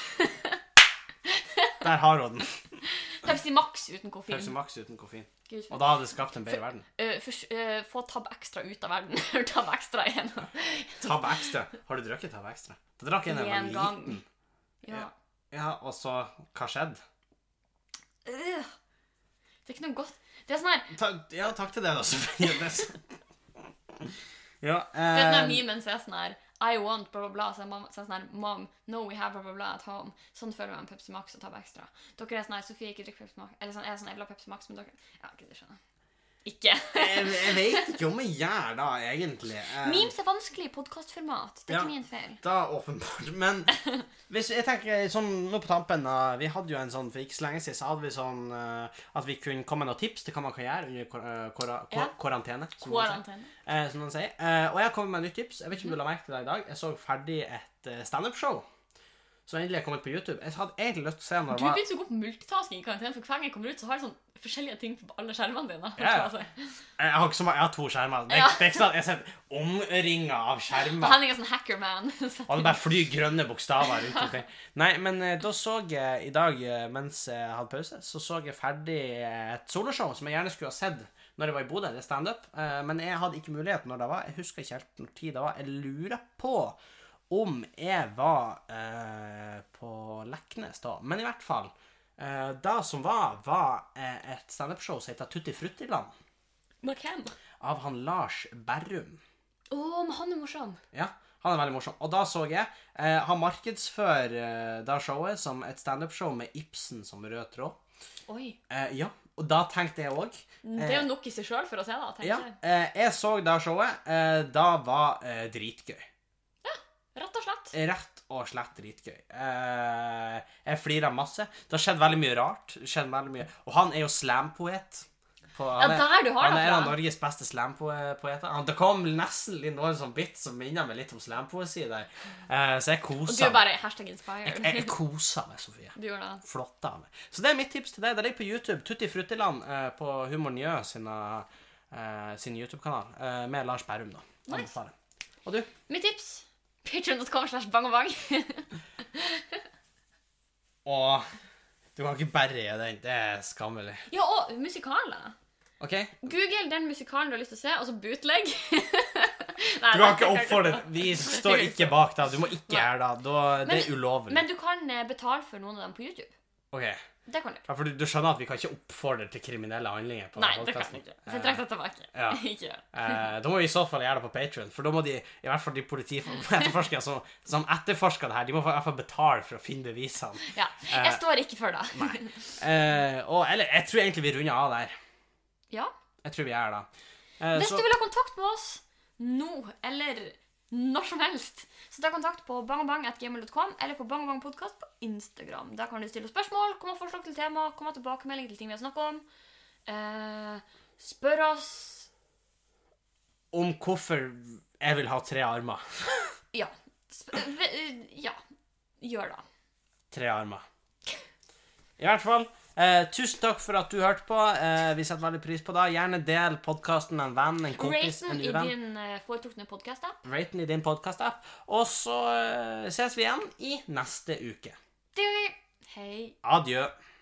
Speaker 1: Der har hun den.
Speaker 2: Pepsi Max
Speaker 1: Pepsi
Speaker 2: uten koffein.
Speaker 1: Max uten koffein.
Speaker 2: Gud,
Speaker 1: Og da hadde det skapt en bedre verden.
Speaker 2: eh, fors- eh, få Tab Extra ut av verden. tab Extra igjen.
Speaker 1: Tab Extra. Har du drukket Tab Extra? Da drakk jeg en da jeg
Speaker 2: En
Speaker 1: var
Speaker 2: gang.
Speaker 1: liten.
Speaker 2: Ja.
Speaker 1: Ja, og så Hva skjedde?
Speaker 2: Øh. Det er ikke noe godt. Det er sånn her,
Speaker 1: Ta- ja, takk til deg, da, Sofie. Det er så- ja,
Speaker 2: det er den
Speaker 1: eh,
Speaker 2: memen som er sånn her I want bla, bla, bla. Så er mamma- så er det sånn her Mom, no, we have bla, bla, bla at home. Sånn føler jeg med Pepsi Max og tar på ekstra. Dere er sånn her Sofie, ikke drikk Pepsi Max. Eller sånn, jeg er sånn, jeg vil ha Pepsi Max, men dere Ja, ok, det skjønner jeg. Ikke.
Speaker 1: jeg, jeg vet ikke om jeg gjør det, egentlig. Eh,
Speaker 2: Memes er vanskelig i podkastformat. Det er
Speaker 1: Ja.
Speaker 2: ikke min feil.
Speaker 1: Da, åpenbart. Men hvis, jeg tenker sånn nå på tampen da, Vi hadde jo en sånn for ikke så lenge siden så hadde vi sånn eh, at vi kunne komme med noen tips til hva man kan gjøre under kor eh, kora- kor
Speaker 2: Ja.
Speaker 1: karantene. som man sier.
Speaker 2: Quarantene.
Speaker 1: Eh, som man sier. Eh, og jeg har kommet med et nytt tips. Jeg vet ikke om du la merke til det i dag. Jeg så ferdig et eh, standup-show som endelig er kommet på YouTube. Jeg hadde egentlig lyst til å se når det
Speaker 2: Du
Speaker 1: var
Speaker 2: begynte så god på multitasking i karantene, for hver gang jeg kommer ut, så har jeg sånn forskjellige ting på alle skjermene dine. Altså,
Speaker 1: Ja, ja. Jeg har, ikke så mange, jeg har to skjermer. Det, er-
Speaker 2: Ja.
Speaker 1: det er ikke sånn at jeg sitter omringa av
Speaker 2: Og
Speaker 1: skjermer.
Speaker 2: Henning er sånn hackerman.
Speaker 1: Og det bare flyr grønne bokstaver rundt omkring. Nei, men eh, da så jeg i dag, eh, mens jeg hadde pause, så så jeg ferdig eh, et soloshow som jeg gjerne skulle ha sett når jeg var i Bodø. Det er standup. Eh, Men jeg hadde ikke mulighet når det var. Jeg husker ikke helt når tid det var. Jeg lurer på om jeg var eh, på Leknes da. Men i hvert fall. eh, Det som var, var eh, et standup-show som heter Tutti Fruttiland,
Speaker 2: Men hvem?
Speaker 1: av han Lars Berrum.
Speaker 2: Å, men han er morsom.
Speaker 1: Ja, han er veldig morsom. Og da så jeg eh, Han markedsfører eh, da showet som et standup-show med Ibsen som rød tråd.
Speaker 2: Oi.
Speaker 1: Eh, ja, og da tenkte jeg òg
Speaker 2: Det er jo nok i seg sjøl for å se, da. tenker
Speaker 1: Eh. ja,
Speaker 2: jeg.
Speaker 1: eh, Jeg så da showet. Eh, da var eh, dritgøy.
Speaker 2: Rett og
Speaker 1: Eh,
Speaker 2: slett.
Speaker 1: Rett og slett dritgøy. Eh, jeg flira masse. Det har skjedd veldig mye rart. Det skjedde veldig mye. Og han er jo slampoet. På-
Speaker 2: Ja,
Speaker 1: han er-
Speaker 2: der du har
Speaker 1: Han
Speaker 2: det
Speaker 1: er en av
Speaker 2: fra.
Speaker 1: Norges beste slampoeter. Han- Det kom nesten litt noen sånn bit som minner meg litt om slampoesi der. Eh, så jeg
Speaker 2: Og
Speaker 1: koser
Speaker 2: du er bare hashtag inspired.
Speaker 1: Jeg, jeg koser meg, Sofie.
Speaker 2: Du gjør det.
Speaker 1: Flotta meg. Så det er mitt tips til deg. Det ligger på YouTube. Tutti Fruttiland eh, på Humor Njø sin, eh, sin YouTube-kanal. Eh, med Lars Berrum, da.
Speaker 2: Nice.
Speaker 1: Anbefaler. Og du?
Speaker 2: Mitt tips patreon.com slash bangobang.
Speaker 1: Å, du kan ikke bare gjøre den. Det er skammelig.
Speaker 2: Ja, og musikaler.
Speaker 1: OK? Du
Speaker 2: Google den musikalen du har lyst til å se, og så bootleg. Nei,
Speaker 1: kan
Speaker 2: det
Speaker 1: ikke
Speaker 2: tenker jeg
Speaker 1: oppfordre
Speaker 2: på.
Speaker 1: Vi står ikke bak deg. Du må ikke
Speaker 2: Nei.
Speaker 1: gjøre det. Da, det er ulovlig.
Speaker 2: Men du kan eh, betale for noen av dem på YouTube.
Speaker 1: OK.
Speaker 2: Det kan du.
Speaker 1: Ja, for du, du skjønner at vi kan ikke oppfordre til kriminelle handlinger? på
Speaker 2: Nei,
Speaker 1: denne
Speaker 2: det kan
Speaker 1: podcasten.
Speaker 2: du ikke. Så jeg trekker det tilbake.
Speaker 1: Ja.
Speaker 2: ikke gjør det.
Speaker 1: Eh, da må vi i så fall gjøre det på Patreon, for da må de, i hvert fall de politietterforskerne som, som etterforsker det her, de må i hvert fall betale for å finne bevisene.
Speaker 2: Ja. Jeg
Speaker 1: Eh,
Speaker 2: står ikke for det.
Speaker 1: Eh, og eller, jeg tror egentlig vi runder av der.
Speaker 2: Ja.
Speaker 1: Jeg tror vi gjør det. Eh,
Speaker 2: Hvis
Speaker 1: så,
Speaker 2: du vil ha kontakt med oss nå, eller når som helst, så ta kontakt på bangabang.gmail.com eller på bangabangpodkast på Instagram. Der kan du stille spørsmål, komme med forslag til tema, komme med tilbakemelding til ting vi har snakket om. Eh, spør oss
Speaker 1: om hvorfor jeg vil ha tre armer.
Speaker 2: Ja. Sp eh, ja. Gjør det.
Speaker 1: Tre armer. I hvert fall. Eh, tusen takk for at du hørte på. Eh, vi setter veldig pris på det. Gjerne del podkasten med en venn, en kompis,
Speaker 2: Raten
Speaker 1: en
Speaker 2: i
Speaker 1: uvenn.
Speaker 2: din eh, foretrukne podkast.
Speaker 1: Rate den i din podkast-app. Og så eh, ses vi igjen i neste uke.
Speaker 2: Det gjør vi. Hei.
Speaker 1: Adjø.